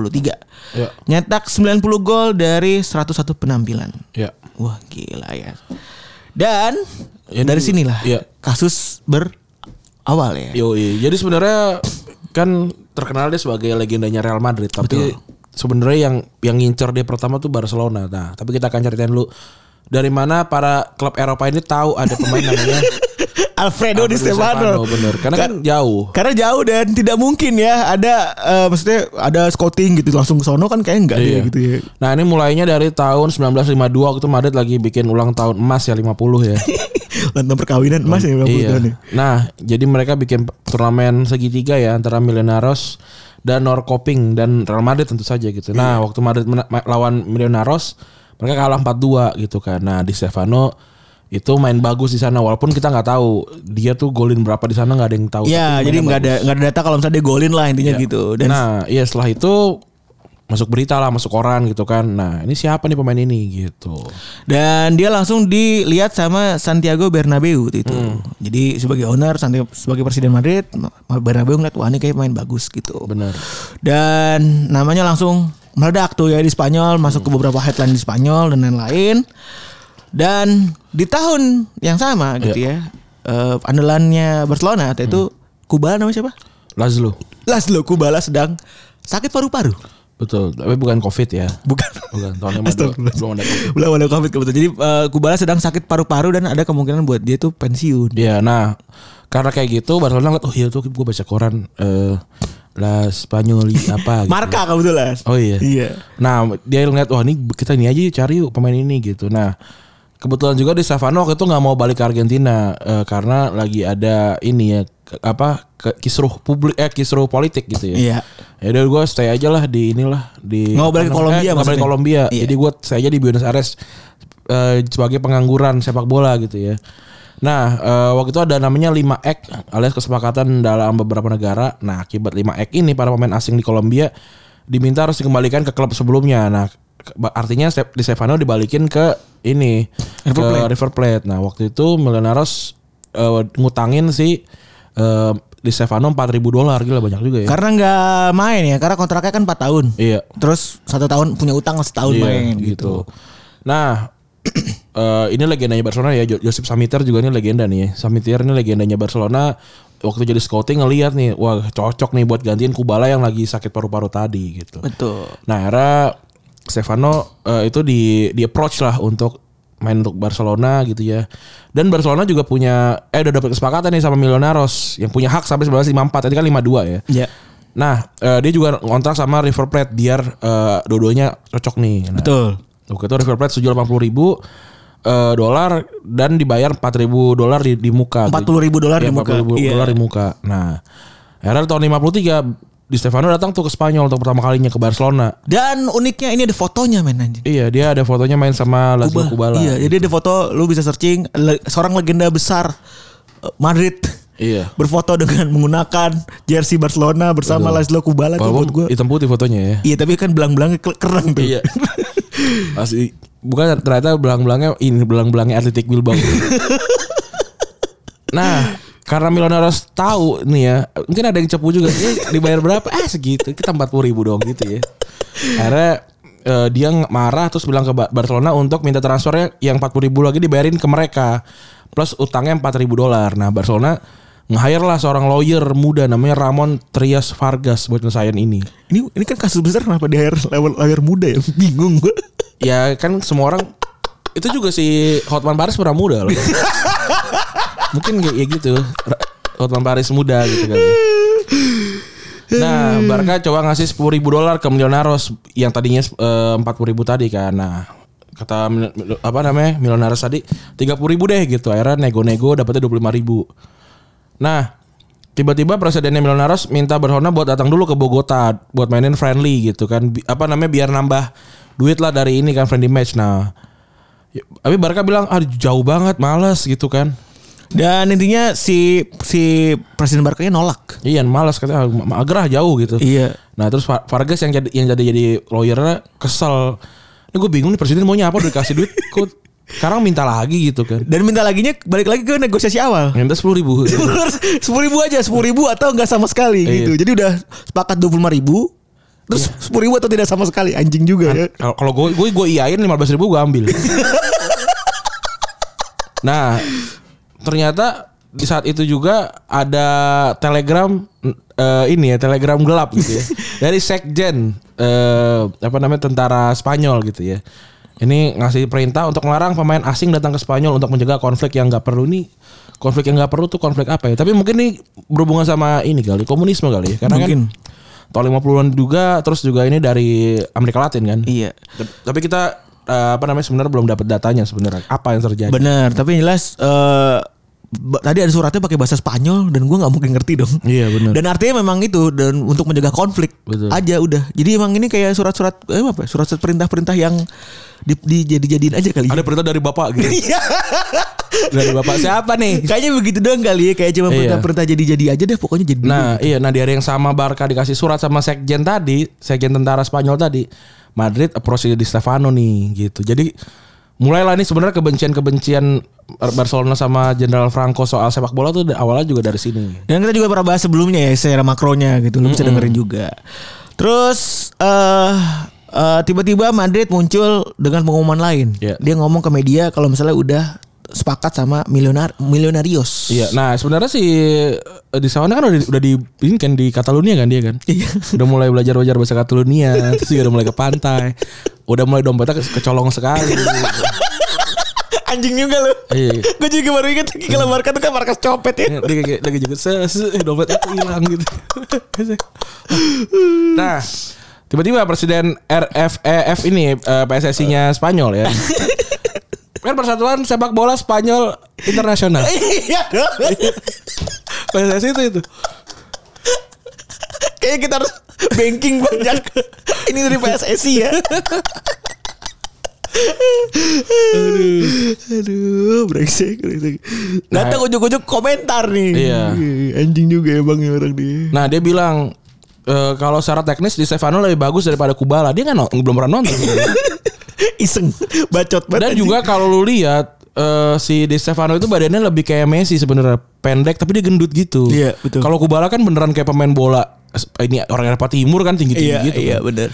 Iya. Nyetak 90 gol dari 101 penampilan. Iya. Wah, gila ya. Dan Ini- dari sinilah iya. kasus berawal ya. Yo, jadi sebenarnya kan terkenal dia sebagai legendanya Real Madrid, tapi sebenarnya yang yang ngincer dia pertama tuh Barcelona. Nah, tapi kita akan ceritain dulu dari mana para klub Eropa ini tahu ada pemain namanya Alfredo, Di Alfredo Di Stefano. Stefano, bener. Karena kan jauh. Karena jauh dan tidak mungkin ya ada eh, maksudnya ada scouting gitu langsung ke sono kan kayak enggak Iya. dia gitu ya. Nah ini mulainya dari tahun 1952 waktu Madrid lagi bikin ulang tahun emas ya 50 ya. Tentang perkawinan emas Oh, ya 50 tahun ya. Nah jadi mereka bikin turnamen segitiga ya antara Milenaros dan Norkoping dan Real Madrid tentu saja gitu. Nah Iya. waktu Madrid mena- ma- lawan Milenaros mereka kalah 4-2 gitu kan. Nah di Stefano itu main bagus di sana walaupun kita nggak tahu dia tuh golin berapa di sana nggak ada yang tahu. Iya, Tapi jadi mainnya nggak ada nggak ada data kalau misalnya dia golin lah intinya gitu. Dan nah, iya setelah itu masuk berita lah, masuk koran gitu kan. Nah, ini siapa nih pemain ini gitu. dan dia langsung dilihat sama Santiago Bernabeu waktu itu. Jadi sebagai owner Santi- sebagai presiden Madrid, Bernabeu ngeliat wah ini kayak main bagus gitu. Bener. Dan namanya langsung meledak tuh ya di Spanyol, masuk ke beberapa headline di Spanyol dan lain-lain. Dan di tahun yang sama gitu ya, eh, andalannya Barcelona waktu itu Kubala namanya siapa? Lazlo. Laszlo Kubala sedang sakit paru-paru. Betul, tapi bukan Covid ya. Bukan. Bukan, tahun yang ada, Astagfirullah. belum ada Covid. Belum ada Covid kebetulan. Jadi eh, Kubala sedang sakit paru-paru dan ada kemungkinan buat dia tuh pensiun. Iya, nah karena kayak gitu Barcelona ngeliat, oh iya tuh gue baca koran eh La Spanyoli apa gitu. Marka kebetulan. Oh iya. Iya. Nah dia ngeliat wah ini kita ini aja yuk, cari yuk pemain ini gitu. Nah kebetulan juga di Savano waktu itu nggak mau balik ke Argentina eh, karena lagi ada ini ya ke- apa ke- kisruh publik eh kisruh politik gitu ya. Iya. Ya udah gue stay aja lah di inilah di Nggak mau balik ke apa namanya? Eh, nggak Kolombia balik ke maksudnya. Kolombia. Iya. Jadi gue stay aja di Buenos Aires eh, sebagai pengangguran sepak bola gitu ya. Nah, eh, waktu itu ada namanya 5 ek alias kesepakatan dalam beberapa negara. Nah, akibat 5 ek ini para pemain asing di Kolombia diminta harus dikembalikan ke klub sebelumnya. Nah, ke- artinya Stef- Di Stefano dibalikin ke ini River ke Plate. River Plate. Nah, waktu itu Milenaros eh, ngutangin si eh, Di Stefano 4000 dolar gila banyak juga ya. Karena nggak main ya, karena kontraknya kan 4 tahun. iya. Terus satu tahun punya utang setahun Iya, main gitu. Nah, eh ini legendanya Barcelona ya. Jo- Josep Samiter juga ini legenda nih. Samiter ini legendanya Barcelona. Waktu jadi scouting ngelihat nih, wah cocok nih buat gantiin Kubala yang lagi sakit paru-paru tadi gitu. Betul. Nah, era Stefano eh, itu di di approach lah untuk main untuk Barcelona gitu ya. Dan Barcelona juga punya eh udah dapat kesepakatan nih sama Milonaros yang punya hak sampai 1954. Tadi kan 52 ya. Ya. Nah, eh, dia juga ngontrak sama River Plate biar eh, dua-duanya cocok nih. Nah, Betul. Waktu itu River Plate setuju 80 ribu eh, dolar dan dibayar 4 ribu dolar di, di muka. 40.000 dolar Iya, di muka. 40.000 Iya. dolar di muka. Nah, akhirnya tahun 53 Di Stefano datang tuh ke Spanyol untuk pertama kalinya ke Barcelona. Dan uniknya ini ada fotonya men anjing. Iya, dia ada fotonya main sama Lazio Kubala. Iya, jadi ada foto lu bisa searching le- seorang legenda besar eh, Madrid Iya. berfoto dengan menggunakan jersey Barcelona bersama Laszlo Kubala tuh Walaupun buat gua. hitam putih fotonya ya. Iya, tapi kan belang-belangnya kel- keren tuh. Iya. Asli bukan ternyata belang-belangnya ini belang-belangnya Atletic Bilbao. nah, karena Milonaros tahu nih ya, mungkin ada yang cepu juga. Ini dibayar berapa? Ah segitu. Kita 40 ribu dong gitu ya. Akhirnya eh, dia ng- marah terus bilang ke Ba- Barcelona untuk minta transfernya yang 40 ribu lagi dibayarin ke mereka plus utangnya 4 ribu dolar. Nah Barcelona nge-hire lah seorang lawyer muda namanya Ramon Trias Vargas buat ngesain ini. Ini ini kan kasus besar kenapa di air level air muda ya? Bingung gua. Ya kan semua orang itu juga si Hotman Paris pernah muda loh. Mungkin kayak ya gitu. Ra- Hotman Paris muda gitu kan. Nah, Barca coba ngasih 10.000 ribu dolar ke Milionaros yang tadinya eh, empat puluh ribu tadi kan. Nah, kata Mil- Mil- apa namanya Milionaros tadi 30.000 ribu deh gitu. Akhirnya nego-nego dapetnya 25.000 ribu. Nah, tiba-tiba presidennya Milonaros minta Barcelona buat datang dulu ke Bogota buat mainin friendly gitu kan. Bi- Apa namanya biar nambah duit lah dari ini kan friendly match. Nah, ya, tapi Barca bilang ah jauh banget, males gitu kan. Dan intinya si si Presiden Barca nolak. Iya, malas katanya "Ah, ma- agrah jauh gitu. Iya. Nah, terus Fa- Vargas yang jadi yang jadi jadi lawyernya kesel. Ini gue bingung nih presiden maunya apa udah dikasih duit kok sekarang minta lagi gitu kan. Dan minta laginya balik lagi ke negosiasi awal. Minta sepuluh ribu. sepuluh ribu aja, sepuluh ribu atau nggak sama sekali Iya. gitu. Jadi udah sepakat dua puluh lima ribu, terus sepuluh ribu atau tidak sama sekali, anjing juga ya. Kalau kalau gue gue gue iain lima belas ribu gue ambil. nah ternyata di saat itu juga ada telegram eh, ini ya telegram gelap gitu ya dari sekjen eh, apa namanya tentara Spanyol gitu ya. Ini ngasih perintah untuk melarang pemain asing datang ke Spanyol untuk mencegah konflik yang nggak perlu nih konflik yang nggak perlu tuh konflik apa ya? Tapi mungkin ini berhubungan sama ini kali komunisme kali ya karena Mungkin. kan tahun 50-an juga terus juga ini dari Amerika Latin kan. Iya. Tep- Tapi kita eh, apa namanya sebenarnya belum dapat datanya sebenarnya apa yang terjadi. Bener, tapi yang jelas eh, ba- tadi ada suratnya pakai bahasa Spanyol dan gua nggak mungkin ngerti dong. Iya, bener. Dan artinya memang itu dan untuk mencegah konflik Betul. aja udah. Jadi emang ini kayak surat-surat eh, apa? ya, Surat-surat perintah-perintah yang di, dijadi-jadiin aja kali. ya. Ada perintah dari bapak gitu. Iya. Kan- dari bapak siapa nih? Kayaknya begitu doang kali ya. Kayak cuma Iya. perintah-perintah jadi-jadi aja deh. Pokoknya jadi. Nah, iya nah di hari yang sama Barca dikasih surat sama sekjen tadi, sekjen tentara Spanyol tadi. Madrid approach di Stefano nih gitu. Jadi mulailah nih sebenarnya kebencian-kebencian Barcelona sama Jenderal Franco soal sepak bola tuh awalnya juga dari sini. Dan kita juga pernah bahas sebelumnya ya secara makronya gitu. Lu bisa dengerin juga. Terus eh eh, tiba-tiba Madrid muncul dengan pengumuman lain. Iya. Dia ngomong ke media kalau misalnya udah sepakat sama milionar milionarios. Iya, nah sebenarnya si eh, di sana kan udah di, udah di ini kan di Catalonia kan dia kan. udah mulai belajar-belajar bahasa Catalonia, terus juga udah mulai ke pantai. Udah mulai dompetnya ke- kecolong sekali. Anjing juga lu. Iya. Mm. Gue juga baru inget lagi kalau Barca tuh kan markas copet ya. dia kayak lagi juga se se- Eh, dompetnya tuh hilang gitu. nah, tiba-tiba presiden RFEF ini eh, PSSI-nya Spanyol ya. Kan Persatuan Sepak Bola Spanyol Internasional. Iya dong. PSSI itu itu. Kayaknya kita harus banking banyak. Ini dari PSSI ya. Aduh, brengsek, brengsek. Datang ujuk-ujuk komentar nih. Nah. Iya. Anjing juga ya bang ya orang dia. Nah dia bilang e, kalau secara teknis di Stefano lebih bagus daripada Kubala. Dia kan no- belum pernah nonton. Iseng, Dan bacot banget. anjing. juga kalau lu lihat eh, si Di Stefano itu badannya lebih kayak Messi sebenarnya pendek tapi dia gendut gitu. Iya, betul. Kalau Kubala kan beneran kayak pemain bola Es- ini orang Eropa Timur kan tinggi tinggi Iya, gitu. iya kan. bener.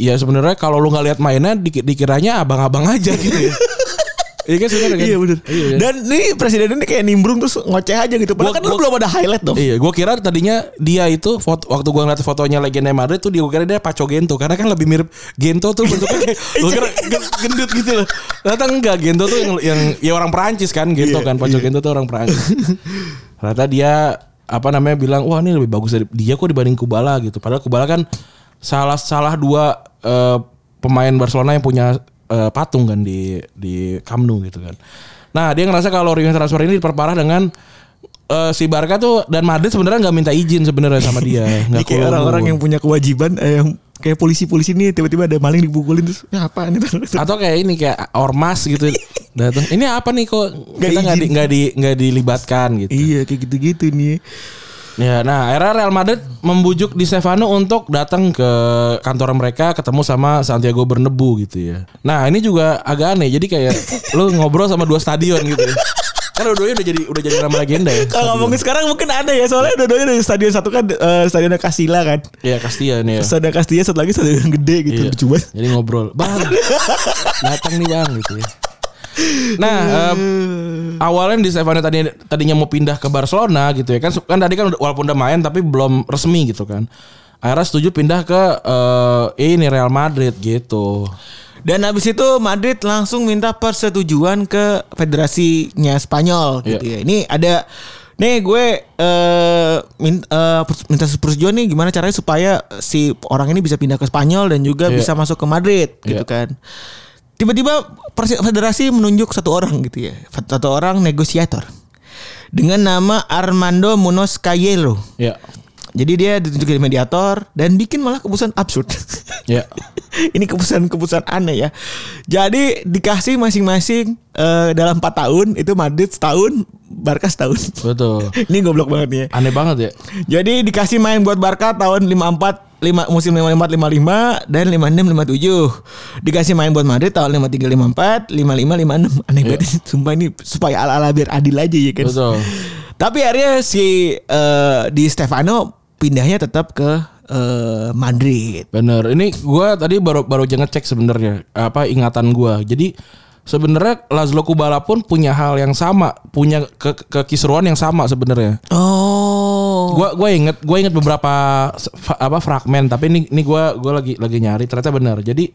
Iya sebenarnya kalau lu nggak lihat mainnya diki- dikiranya abang-abang aja gitu ya. Iya kan sebenarnya kan? Iya bener. Iya, iya. Dan ini presiden ini kayak nimbrung terus ngoceh aja gitu. Gua- Padahal kan lu gua- belum ada highlight dong. Iya, gue kira tadinya dia itu foto, waktu gue ngeliat fotonya legenda Madrid tuh dia gua kira dia Paco Gento karena kan lebih mirip Gento tuh bentuknya kayak gue kira gen- gendut gitu loh. Ternyata enggak Gento tuh yang yang ya orang Perancis kan Gento Iya, kan Paco Gento tuh orang Perancis. Ternyata dia apa namanya bilang wah ini lebih bagus dari dia kok dibanding Kubala gitu. Padahal Kubala kan salah salah dua eh, pemain Barcelona yang punya eh, patung kan di di Camp Nou gitu kan. Nah dia ngerasa kalau reunion transfer ini diperparah dengan eh, si Barca tuh dan Madrid sebenarnya nggak minta izin sebenarnya sama dia. Jadi Nggak kayak keluar orang-orang dulu. yang punya kewajiban eh, yang kayak polisi-polisi nih tiba-tiba ada maling dipukulin terus ya apaan itu? atau kayak ini kayak ormas gitu datang ini apa nih kok Nggak kita nggak di, izin. nggak di nggak dilibatkan gitu iya kayak gitu-gitu nih. ya nah akhirnya Real Madrid membujuk Di Stefano untuk datang ke kantor mereka ketemu sama Santiago Bernabeu gitu ya nah ini juga agak aneh jadi kayak lu ngobrol sama dua stadion gitu ya. kan dua-duanya udah jadi udah jadi nama legenda ya Kalau ngomongin sekarang mungkin ada ya soalnya dua-duanya dari stadion satu kan eh, stadion Kasila kan. ya Castilla nih ya Stadion Castilla satu lagi stadion gede gitu. Iya. Lucu banget. Jadi ngobrol, bang, datang nih bang gitu ya. Nah, eh, awalnya di Stefano tadi tadinya mau pindah ke Barcelona gitu ya kan kan tadi kan udah- walaupun udah main tapi belum resmi gitu kan. Akhirnya setuju pindah ke eh, ini Real Madrid gitu. Dan habis itu Madrid langsung minta persetujuan ke federasinya Iya. Spanyol gitu ya. Ini ada nih gue eh min- eh, pers- minta persetujuan nih gimana caranya supaya si orang ini bisa pindah ke Spanyol dan juga Iya. bisa masuk ke Madrid gitu Iya. kan. Tiba-tiba persi- federasi menunjuk satu orang gitu ya. Satu orang negosiator dengan nama Armando Munoz Cayelo. Ya. Jadi dia ditunjuk jadi mediator dan bikin malah keputusan absurd. Ya. Ini keputusan-keputusan aneh ya. Jadi dikasih masing-masing eh, dalam 4 tahun itu Madrid setahun, Barca setahun. Betul. Ini goblok banget nih ya. Aneh banget ya. Jadi dikasih main buat Barca tahun 54 5, musim 54 55 dan 56 57. Dikasih main buat Madrid tahun 53 54, 55 56. Aneh banget sumpah ini supaya ala-ala biar adil aja ya kan. Betul. Tapi akhirnya si eh, di Stefano pindahnya tetap ke eh, Madrid. Bener. Ini gua tadi baru baru aja ngecek sebenarnya apa ingatan gua. Jadi sebenarnya Lazlo Kubala pun punya hal yang sama, punya ke kekisruan yang sama sebenarnya. Oh. Gua gua inget gua inget beberapa s- fa- apa fragmen tapi ini ini gua gua lagi lagi nyari ternyata benar. Jadi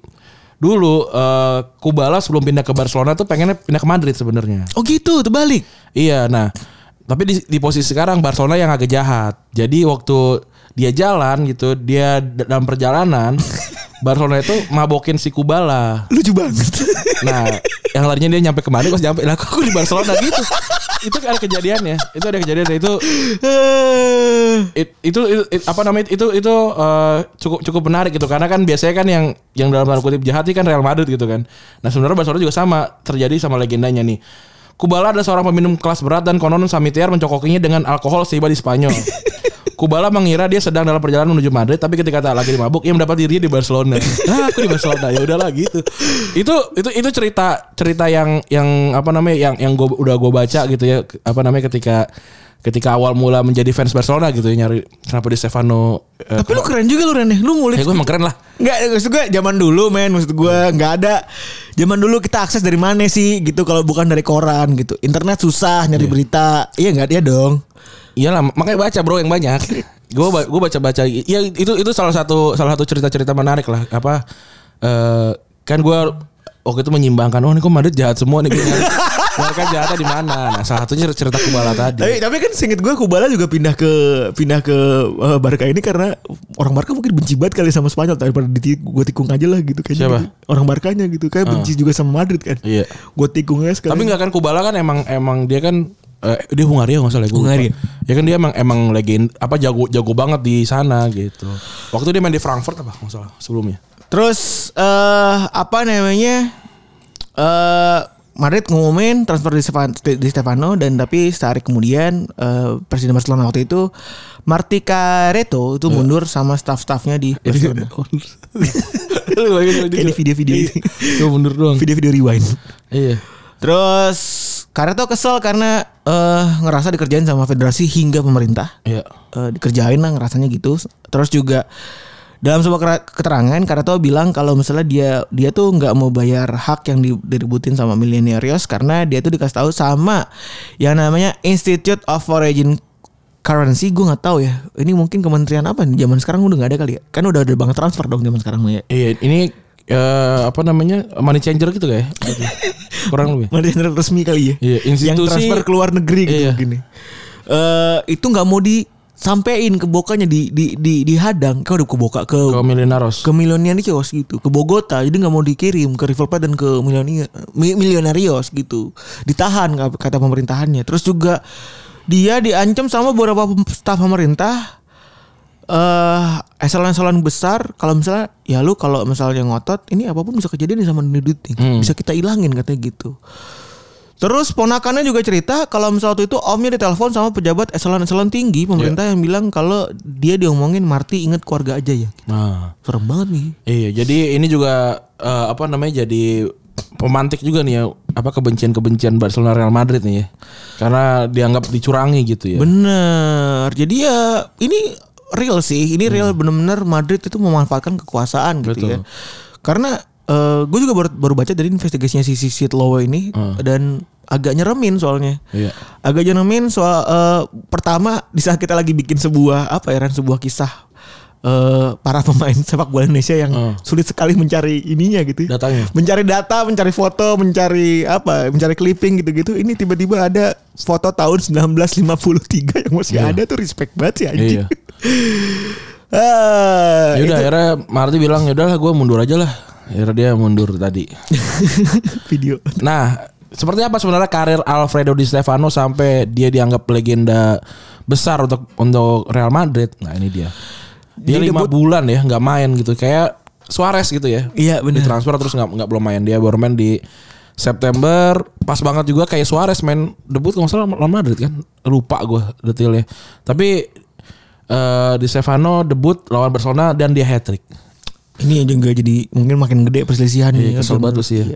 dulu eh, Kubala sebelum pindah ke Barcelona tuh pengennya pindah ke Madrid sebenarnya. Oh gitu, terbalik. Iya, nah tapi di, di posisi sekarang Barcelona yang agak jahat. Jadi waktu dia jalan gitu, dia d- dalam perjalanan Barcelona itu mabokin si Kubala. Lucu banget. Nah, yang larinya dia nyampe kemarin, pas nyampe lah kok aku di Barcelona gitu. itu ada kejadiannya, itu ada kejadiannya itu Eh, it- itu, itu- it- apa namanya itu itu eh, cukup cukup menarik gitu karena kan biasanya kan yang yang dalam tanda kutip jahat ini kan Real Madrid gitu kan. Nah sebenarnya Barcelona juga sama terjadi sama legendanya nih. Kubala adalah seorang peminum kelas berat dan konon Samitier mencokokinya dengan alkohol setiba di Spanyol. Kubala mengira dia sedang dalam perjalanan menuju Madrid, tapi ketika tak lagi dimabuk, ia mendapat dirinya di Barcelona. Ah, aku di Barcelona ya udahlah gitu. Itu itu itu cerita cerita yang yang apa namanya yang yang gua, udah gue baca gitu ya apa namanya ketika ketika awal mula menjadi fans Barcelona gitu ya nyari kenapa di Stefano eh, Tapi lu keren juga lu Rene. Lu ya ngulik. gue emang keren lah Enggak, maksud gue zaman dulu men, maksud gue nggak ada. Zaman dulu kita akses dari mana sih gitu kalau bukan dari koran gitu. Internet susah nyari berita. Iya nggak dia dong. iyalah makanya baca bro yang banyak gue gue baca baca ya itu itu salah satu salah satu cerita cerita menarik lah apa eh, kan gue waktu itu menyimbangkan oh ini kok Madrid jahat semua nih Gua nyari, mereka jahatnya di mana nah salah satunya cerita Kubala tadi Tapi, tapi kan singkat gue Kubala juga pindah ke pindah ke eh, Barca ini karena orang Barca mungkin benci banget kali sama Spanyol daripada di gue tikung aja lah gitu kayaknya. Siapa? Ah. gitu. Orang Barkanya gitu kayak benci juga sama Madrid kan. Iya. Gue tikung aja sekali. tapi nggak kan Kubala kan emang emang dia kan eh, dia Hungaria nggak salah gue Hungaria. ya kan dia emang emang legend apa jago jago banget di sana gitu waktu dia main di Frankfurt apa nggak salah sebelumnya Terus eh apa namanya? Eh Madrid ngumumin transfer di, Stefan- di Stefano dan tapi sehari kemudian eh, Presiden Barcelona waktu itu Marti Careto Iya. itu mundur sama staff-staffnya di Barcelona. lu Kayak di Iya. video-video itu. Gue mundur doang. Video-video rewind. Iya. Terus Careto kesel karena eh ngerasa dikerjain sama federasi hingga pemerintah. Iya. Eh, dikerjain lah ngerasanya gitu. Terus juga dalam sebuah kera- keterangan Karato bilang kalau misalnya dia dia tuh nggak mau bayar hak yang di- direbutin sama millenarios karena dia tuh dikasih tahu sama yang namanya Institute of Origin Currency gue nggak tahu ya. Ini mungkin kementerian apa nih zaman sekarang udah nggak ada kali ya. Kan udah ada bank transfer dong zaman sekarang ya. Iya, ini eh, apa namanya? money changer gitu kayak. Kurang lebih. Mana yang resmi kali ya. Iya, yang institusi- transfer ke luar negeri gitu Iya. gini. Eh, itu nggak mau disampein ke bokanya di di di dihadang. Kau udah ke boka ke Ke Milionaros. ke Milionaris gitu ke Bogota jadi nggak mau dikirim ke River Plate dan ke Milionia- Mi- Milionarios gitu ditahan ka- kata pemerintahannya terus juga dia diancam sama beberapa pem- staf pemerintah eh eselon-eselon besar kalau misalnya ya lu kalau misalnya ngotot ini apapun bisa kejadian nih sama dunia duit nih. bisa kita ilangin katanya gitu Terus ponakannya juga cerita kalau misal waktu itu omnya ditelepon sama pejabat eselon-eselon tinggi pemerintah yang bilang kalau dia diomongin Marti inget keluarga aja ya. Nah. Serem banget nih. Iya, jadi ini juga eh, apa namanya? Jadi pemantik juga nih ya apa kebencian-kebencian Barcelona Real Madrid nih ya. Karena dianggap dicurangi gitu ya. Bener. Jadi ya ini real sih. Ini real bener-bener Madrid itu memanfaatkan kekuasaan Hmm. gitu Betul. ya. Karena gue juga baru, baru baca dari investigasinya si si Sid Lowe ini dan agak nyeremin soalnya. Hmm. Iya. Agak nyeremin soal eh, pertama di saat kita lagi bikin sebuah apa ya Ran, sebuah kisah eh, para pemain sepak bola Indonesia yang Hmm. sulit sekali mencari ininya gitu. ya. Datanya. mencari data, mencari foto, mencari apa, mencari clipping gitu-gitu. Ini tiba-tiba ada foto tahun 1953 yang masih ada tuh respect banget sih Iya. anjing. Ah, Ya udah akhirnya Marti bilang ya udahlah gue mundur aja lah. Akhirnya dia mundur tadi. video. Nah, seperti apa sebenarnya karir Alfredo Di Stefano sampai dia dianggap legenda besar untuk untuk Real Madrid. Nah ini dia. Dia Jadi lima debut- bulan ya nggak main gitu. Kayak Suarez gitu ya. Iya, bener. Ditransfer terus nggak nggak belum main dia baru main di September pas banget juga kayak Suarez main debut kalau nggak salah Real Madrid kan lupa gue detailnya tapi eh di Stefano debut lawan Barcelona dan dia hat trick Ini juga jadi mungkin makin gede perselisihan Iya, ini. kesel banget tuh sih ya.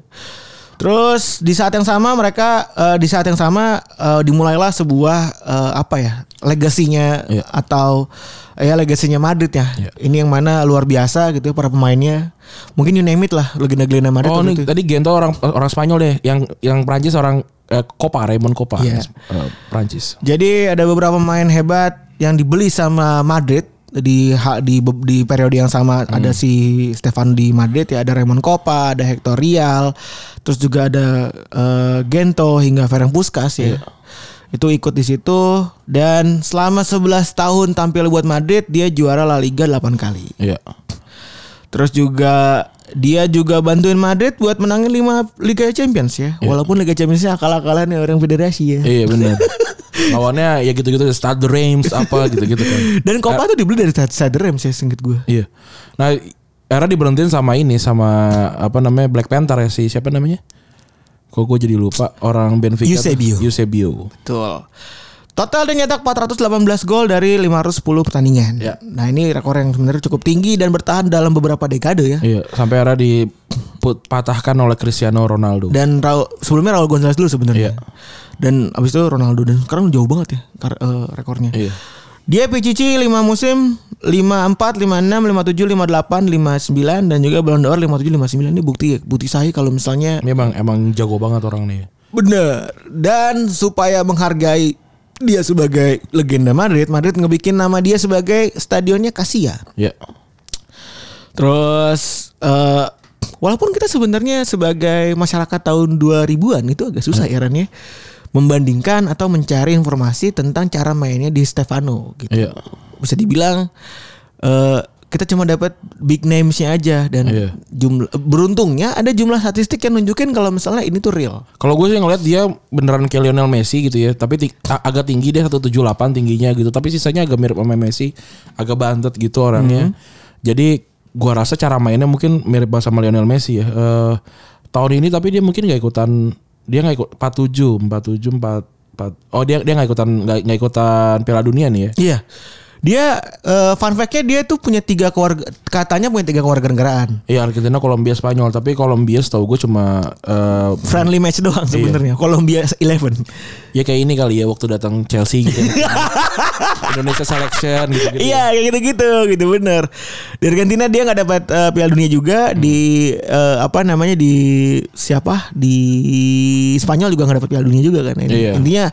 Terus di saat yang sama mereka eh, di saat yang sama eh, dimulailah sebuah eh, apa ya legasinya Iya. atau eh, ya legasinya Madrid ya. Iya. Ini yang mana luar biasa gitu ya para pemainnya. Mungkin you name it lah legenda-legenda Madrid Oh nih waktu itu. tadi Gento orang orang Spanyol deh, yang yang Prancis orang eh, Copa Raymond Copa Iya. Eh, Prancis. Jadi ada beberapa pemain hebat yang dibeli sama Madrid di ha- di be- di periode yang sama ada si Stefan di Madrid ya ada Raymond Kopa, ada Hector Rial, terus juga ada eh, Gento hingga Ferenc Puskas ya. Itu ikut di situ dan selama 11 tahun tampil buat Madrid dia juara La Liga 8 kali. Iya. Terus juga dia juga bantuin Madrid buat menangin 5 Liga Champions ya. Walaupun Liga Championsnya akal-akalan ya orang federasi ya. Iya benar. Lawannya ya gitu-gitu Stade Reims apa gitu-gitu kan. Dan Copa tuh dibeli dari ya, Sadder Rem sih singkat gue. Iya. Nah, era diberhentiin sama ini sama apa namanya Black Panther ya si siapa namanya? Kok gue jadi lupa orang Benfica. tuh. Eusebio. Eusebio. Betul. Total dia nyetak 418 gol dari 510 pertandingan. Ya. Nah ini rekor yang sebenarnya cukup tinggi dan bertahan dalam beberapa dekade ya. Iya, sampai era dipatahkan oleh Cristiano Ronaldo. Dan Raul, sebelumnya Raul Gonzalez dulu Iya. sebenarnya. Dan abis itu Ronaldo dan sekarang jauh banget ya kar- eh, rekornya. Iya. Dia PCC 5 musim 54, 56, 57, 58, 59 dan juga Ballon d'Or 57, 59 ini bukti ya, bukti saya kalau misalnya Memang emang jago banget orang nih. Bener. Dan supaya menghargai dia sebagai legenda Madrid, Madrid ngebikin nama dia sebagai stadionnya Casilla. Iya. Terus eh, walaupun kita sebenarnya sebagai masyarakat tahun 2000-an itu agak susah ya Ran, ya membandingkan atau mencari informasi tentang cara mainnya di Stefano gitu. Iya. Bisa dibilang eh kita cuma dapat big names-nya aja dan Iya. jumlah beruntungnya ada jumlah statistik yang nunjukin kalau misalnya ini tuh real. Kalau gue sih ngeliat dia beneran kayak Lionel Messi gitu ya, tapi ti- a- agak tinggi dia 178 tingginya gitu, tapi sisanya agak mirip sama Messi, agak bantet gitu orangnya. Jadi gua rasa cara mainnya mungkin mirip banget sama Lionel Messi ya. Eh, tahun ini tapi dia mungkin nggak ikutan dia nggak ikut 47, 47, 44. Oh dia dia nggak ikutan nggak nggak ikutan Piala Dunia nih ya. Iya. Dia eh, fun fact-nya dia tuh punya tiga keluarga katanya punya tiga keluarga negaraan. Iya Argentina, Kolombia, Spanyol, tapi Kolombia tahu gue cuma eh, Friendly match doang sebenarnya. Kolombia 11. ya kayak ini kali ya waktu datang Chelsea gitu. Indonesia selection gitu. Iya, kayak gitu-gitu gitu bener. Di Argentina dia nggak dapat eh, Piala Dunia juga Hmm. di eh, apa namanya di siapa? Di Spanyol juga nggak dapat Piala Dunia juga kan. Ini- Iya. Intinya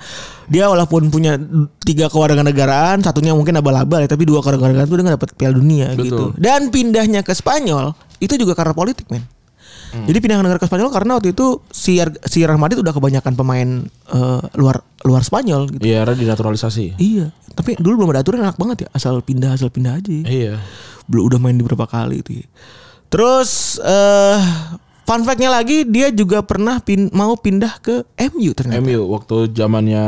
dia walaupun punya tiga keluarga negaraan, satunya mungkin abal-abal ya, tapi dua keluarga negaraan tuh dia nggak dapat Piala Dunia Betul. gitu. Dan pindahnya ke Spanyol itu juga karena politik, men. Hmm. Jadi pindah ke negara ke Spanyol karena waktu itu si Ar- si Real Madrid udah kebanyakan pemain eh, luar luar Spanyol gitu. Iya, era dinaturalisasi. Iya, tapi dulu belum ada aturan enak banget ya, asal pindah asal pindah aja. Ya. Iya. Belum udah main di berapa kali itu. ya. Terus eh fun fact-nya lagi dia juga pernah pin- mau pindah ke MU ternyata. MU waktu zamannya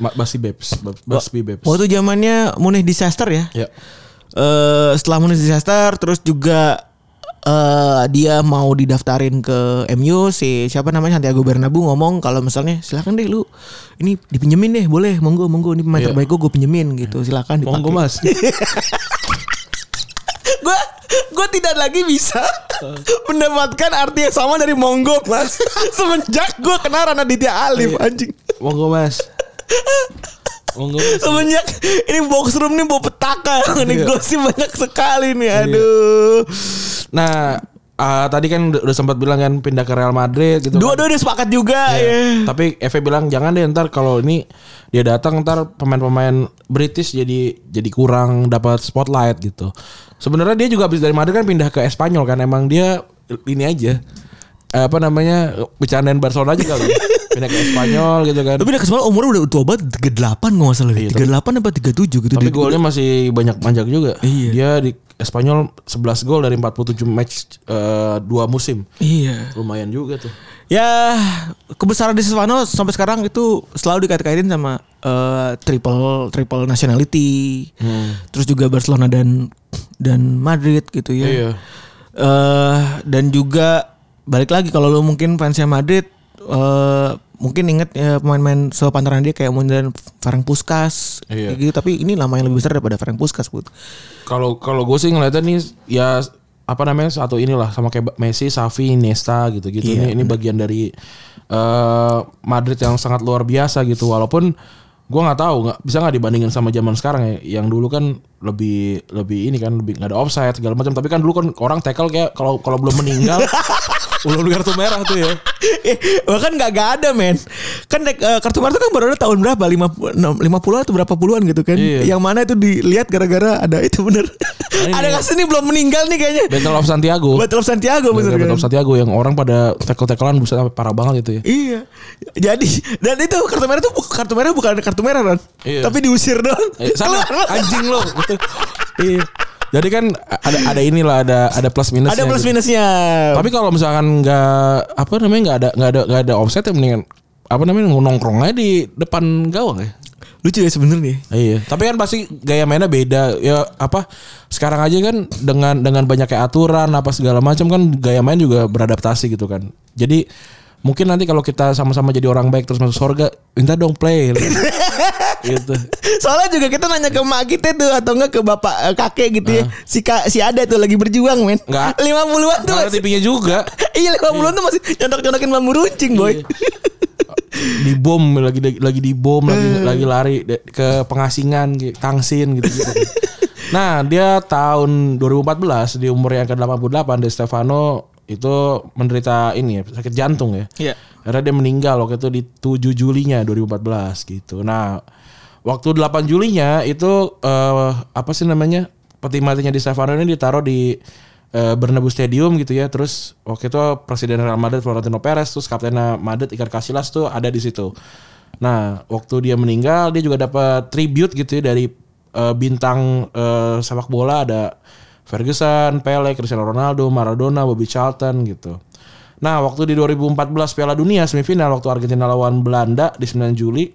Ma- Basti Babes, Bab- Basti Babes. Waktu zamannya Munich disaster ya. Ya. Eh setelah Munich disaster terus juga eh dia mau didaftarin ke MU si siapa namanya Santiago Bernabeu ngomong kalau misalnya silakan deh lu ini dipinjemin deh boleh monggo monggo ini pemain Iya. terbaik gue gue pinjemin gitu silakan dipakai. Monggo Mas. gue gue tidak lagi bisa mendapatkan arti yang sama dari monggo mas semenjak gue kenal Ranaditya Alif anjing Monggo Mas. Monggo Mas. semenjak ini box room nih bawa petaka ini gosip banyak sekali nih aduh Nah, ah, tadi kan udah, udah sempat bilang kan pindah ke Real Madrid gitu. kan. dua-dua udah sepakat juga ya Tapi FA bilang jangan deh ntar kalau ini dia datang ntar pemain-pemain British jadi jadi kurang dapat spotlight gitu. Sebenarnya dia juga habis dari Madrid kan pindah ke Espanyol kan emang dia ini aja eh, apa namanya bercandain Barcelona aja kali pindah ke Spanyol gitu kan Tapi dia kesempatan umurnya udah tua banget 38 kalau gak salah deh. 38 apa 37 gitu tapi dia. golnya masih banyak panjang juga Iya. dia di Spanyol 11 gol dari 47 match eh, dua musim Iya. lumayan juga tuh Ya kebesaran di Silvano sampai sekarang itu selalu dikait-kaitin sama eh, triple triple nationality. Hmm. Terus juga Barcelona dan dan Madrid gitu ya. Iya. Eh, dan juga balik lagi kalau lu mungkin fansnya Madrid eh, mungkin inget ya pemain-pemain sepantaran dia kayak Mundan Ferenc Puskas Iya. kayak gitu tapi ini lama yang lebih besar daripada Ferenc Puskas Bud. kalau kalau gue sih ngeliatnya nih ya apa namanya satu inilah sama kayak Ba- Messi, Xavi, Iniesta gitu-gitu. Iya, ini ini bagian dari eh, Madrid yang sangat luar biasa gitu. Walaupun gue nggak tahu nggak bisa nggak dibandingin sama zaman sekarang ya. Yang dulu kan lebih lebih ini kan lebih nggak ada offside segala macam. Tapi kan dulu kan orang tackle kayak kalau kalau belum meninggal belum kartu merah tuh ya. Eh, bahkan nggak nggak ada men kan eh, kartu kartu kan baru ada tahun berapa lima lima puluh atau berapa puluhan gitu kan Iya. Nah, yang mana itu dilihat gara-gara ada itu bener ini. ya. ada kasus ini belum meninggal nih kayaknya Battle of Santiago. Battle of Santiago bener Battle kan of Santiago yang orang pada tackle-tacklean buset sampai parah banget itu ya. iya jadi dan itu kartu merah itu bu- kartu merah bukan kartu merah kan Iya. tapi diusir doang Eh, sana Keluar. anjing lo. Gitu. iya. Jadi kan ada ada inilah ada ada plus minusnya. ada plus gitu. minusnya Tapi kalau misalkan nggak apa namanya nggak ada nggak ada nggak ada offset ya mendingan apa namanya nongkrong aja di depan gawang ya. lucu ya sebenarnya Iya. Tapi kan pasti gaya mainnya beda. Ya apa sekarang aja kan dengan dengan banyaknya aturan apa segala macam kan gaya main juga beradaptasi gitu kan. Jadi mungkin nanti kalau kita sama-sama jadi orang baik terus masuk surga minta dong play gitu. Soalnya juga kita nanya ke mak kita tuh atau enggak ke bapak eh, kakek gitu ya. Si ka, si ada tuh lagi berjuang, men. Ah. Enggak. 50-an tuh. Nggak ada masih- tipinya juga. Iya, 50-an tuh masih nyontok-nyontokin bambu runcing, boy. di bom lagi lagi di bom lagi lagi lari de- ke pengasingan ke tangsin gitu gitu nah dia tahun 2014 di umur yang ke 88 De Stefano itu menderita ini ya sakit jantung ya Iya. karena dia meninggal waktu itu di 7 Julinya 2014 gitu nah waktu 8 Julinya itu eh, apa sih namanya peti matinya di Stefano ini ditaruh di eh, Bernabeu Stadium gitu ya. Terus waktu itu presiden Real Madrid Florentino Perez terus kaptennya Madrid Iker Casillas tuh ada di situ. Nah, waktu dia meninggal dia juga dapat tribute gitu ya dari eh, bintang eh, sepak bola ada Ferguson, Pele, Cristiano Ronaldo, Maradona, Bobby Charlton gitu. Nah, waktu di 2014 Piala Dunia semifinal waktu Argentina lawan Belanda di 9 Juli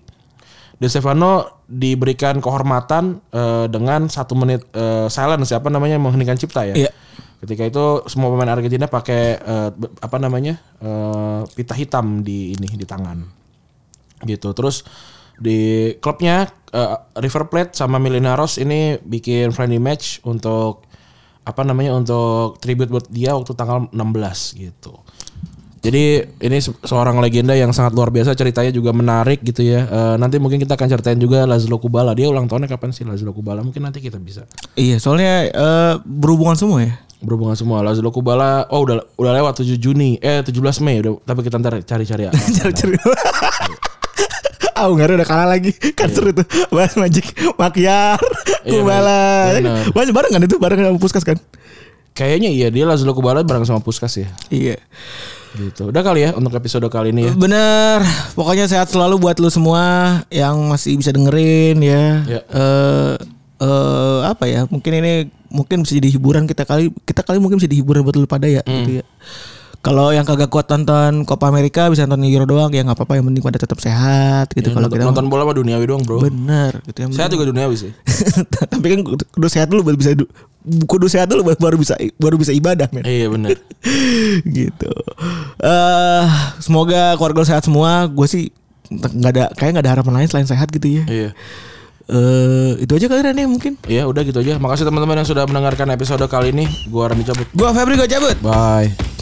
De Stefano diberikan kehormatan eh, dengan satu menit eh, silence apa namanya mengheningkan cipta ya. Iya. Ketika itu semua pemain Argentina pakai eh, be- apa namanya eh, pita hitam di ini di tangan gitu. Terus di klubnya eh, River Plate sama Millonarios ini bikin friendly match untuk apa namanya untuk tribute buat dia waktu tanggal 16 gitu. Jadi ini se- seorang legenda yang sangat luar biasa ceritanya juga menarik gitu ya. Eh, nanti mungkin kita akan ceritain juga Lazlo Kubala. Dia ulang tahunnya kapan sih Lazlo Kubala? Mungkin nanti kita bisa Iya, soalnya eh, berhubungan semua ya. berhubungan semua Lazlo Kubala. Oh udah udah lewat 7 Juni eh 17 Mei udah tapi kita ntar cari-cari. Cari-cari. Ah, Ungaru udah kalah lagi Kartu itu Bahas Magic Makyar Iya, Kubala bener. Bahas bareng kan itu Bareng sama Puskas kan Kayaknya iya dia Lazlo Kubala bareng sama Puskas ya. Iya Gitu. Udah kali ya untuk episode kali ini ya. Bener, pokoknya sehat selalu buat lu semua yang masih bisa dengerin ya. Ya. Eh eh, apa ya? Mungkin ini mungkin bisa jadi hiburan kita kali kita kali mungkin bisa jadi hiburan buat lu pada ya Hmm. gitu ya. Kalau yang kagak kuat nonton Copa America bisa nonton Euro doang ya nggak apa-apa yang penting pada tetap sehat gitu kalau nonton, kita Ya, nonton bola mah duniawi doang, Bro. bener gitu yang Saya juga duniawi sih. tapi kan kudu- kudu sehat dulu baru bisa du- kudu sehat dulu baru- baru bisa baru bisa ibadah men iya benar. gitu. Eh semoga keluarga lu sehat semua. Gue sih nggak ada kayak nggak ada harapan lain selain sehat gitu ya. Eh Iya. itu aja kali Ran, ya mungkin. Ya udah gitu aja. Makasih teman-teman yang sudah mendengarkan episode kali ini. Gua Randy cabut. Gua Febri gue cabut. Bye.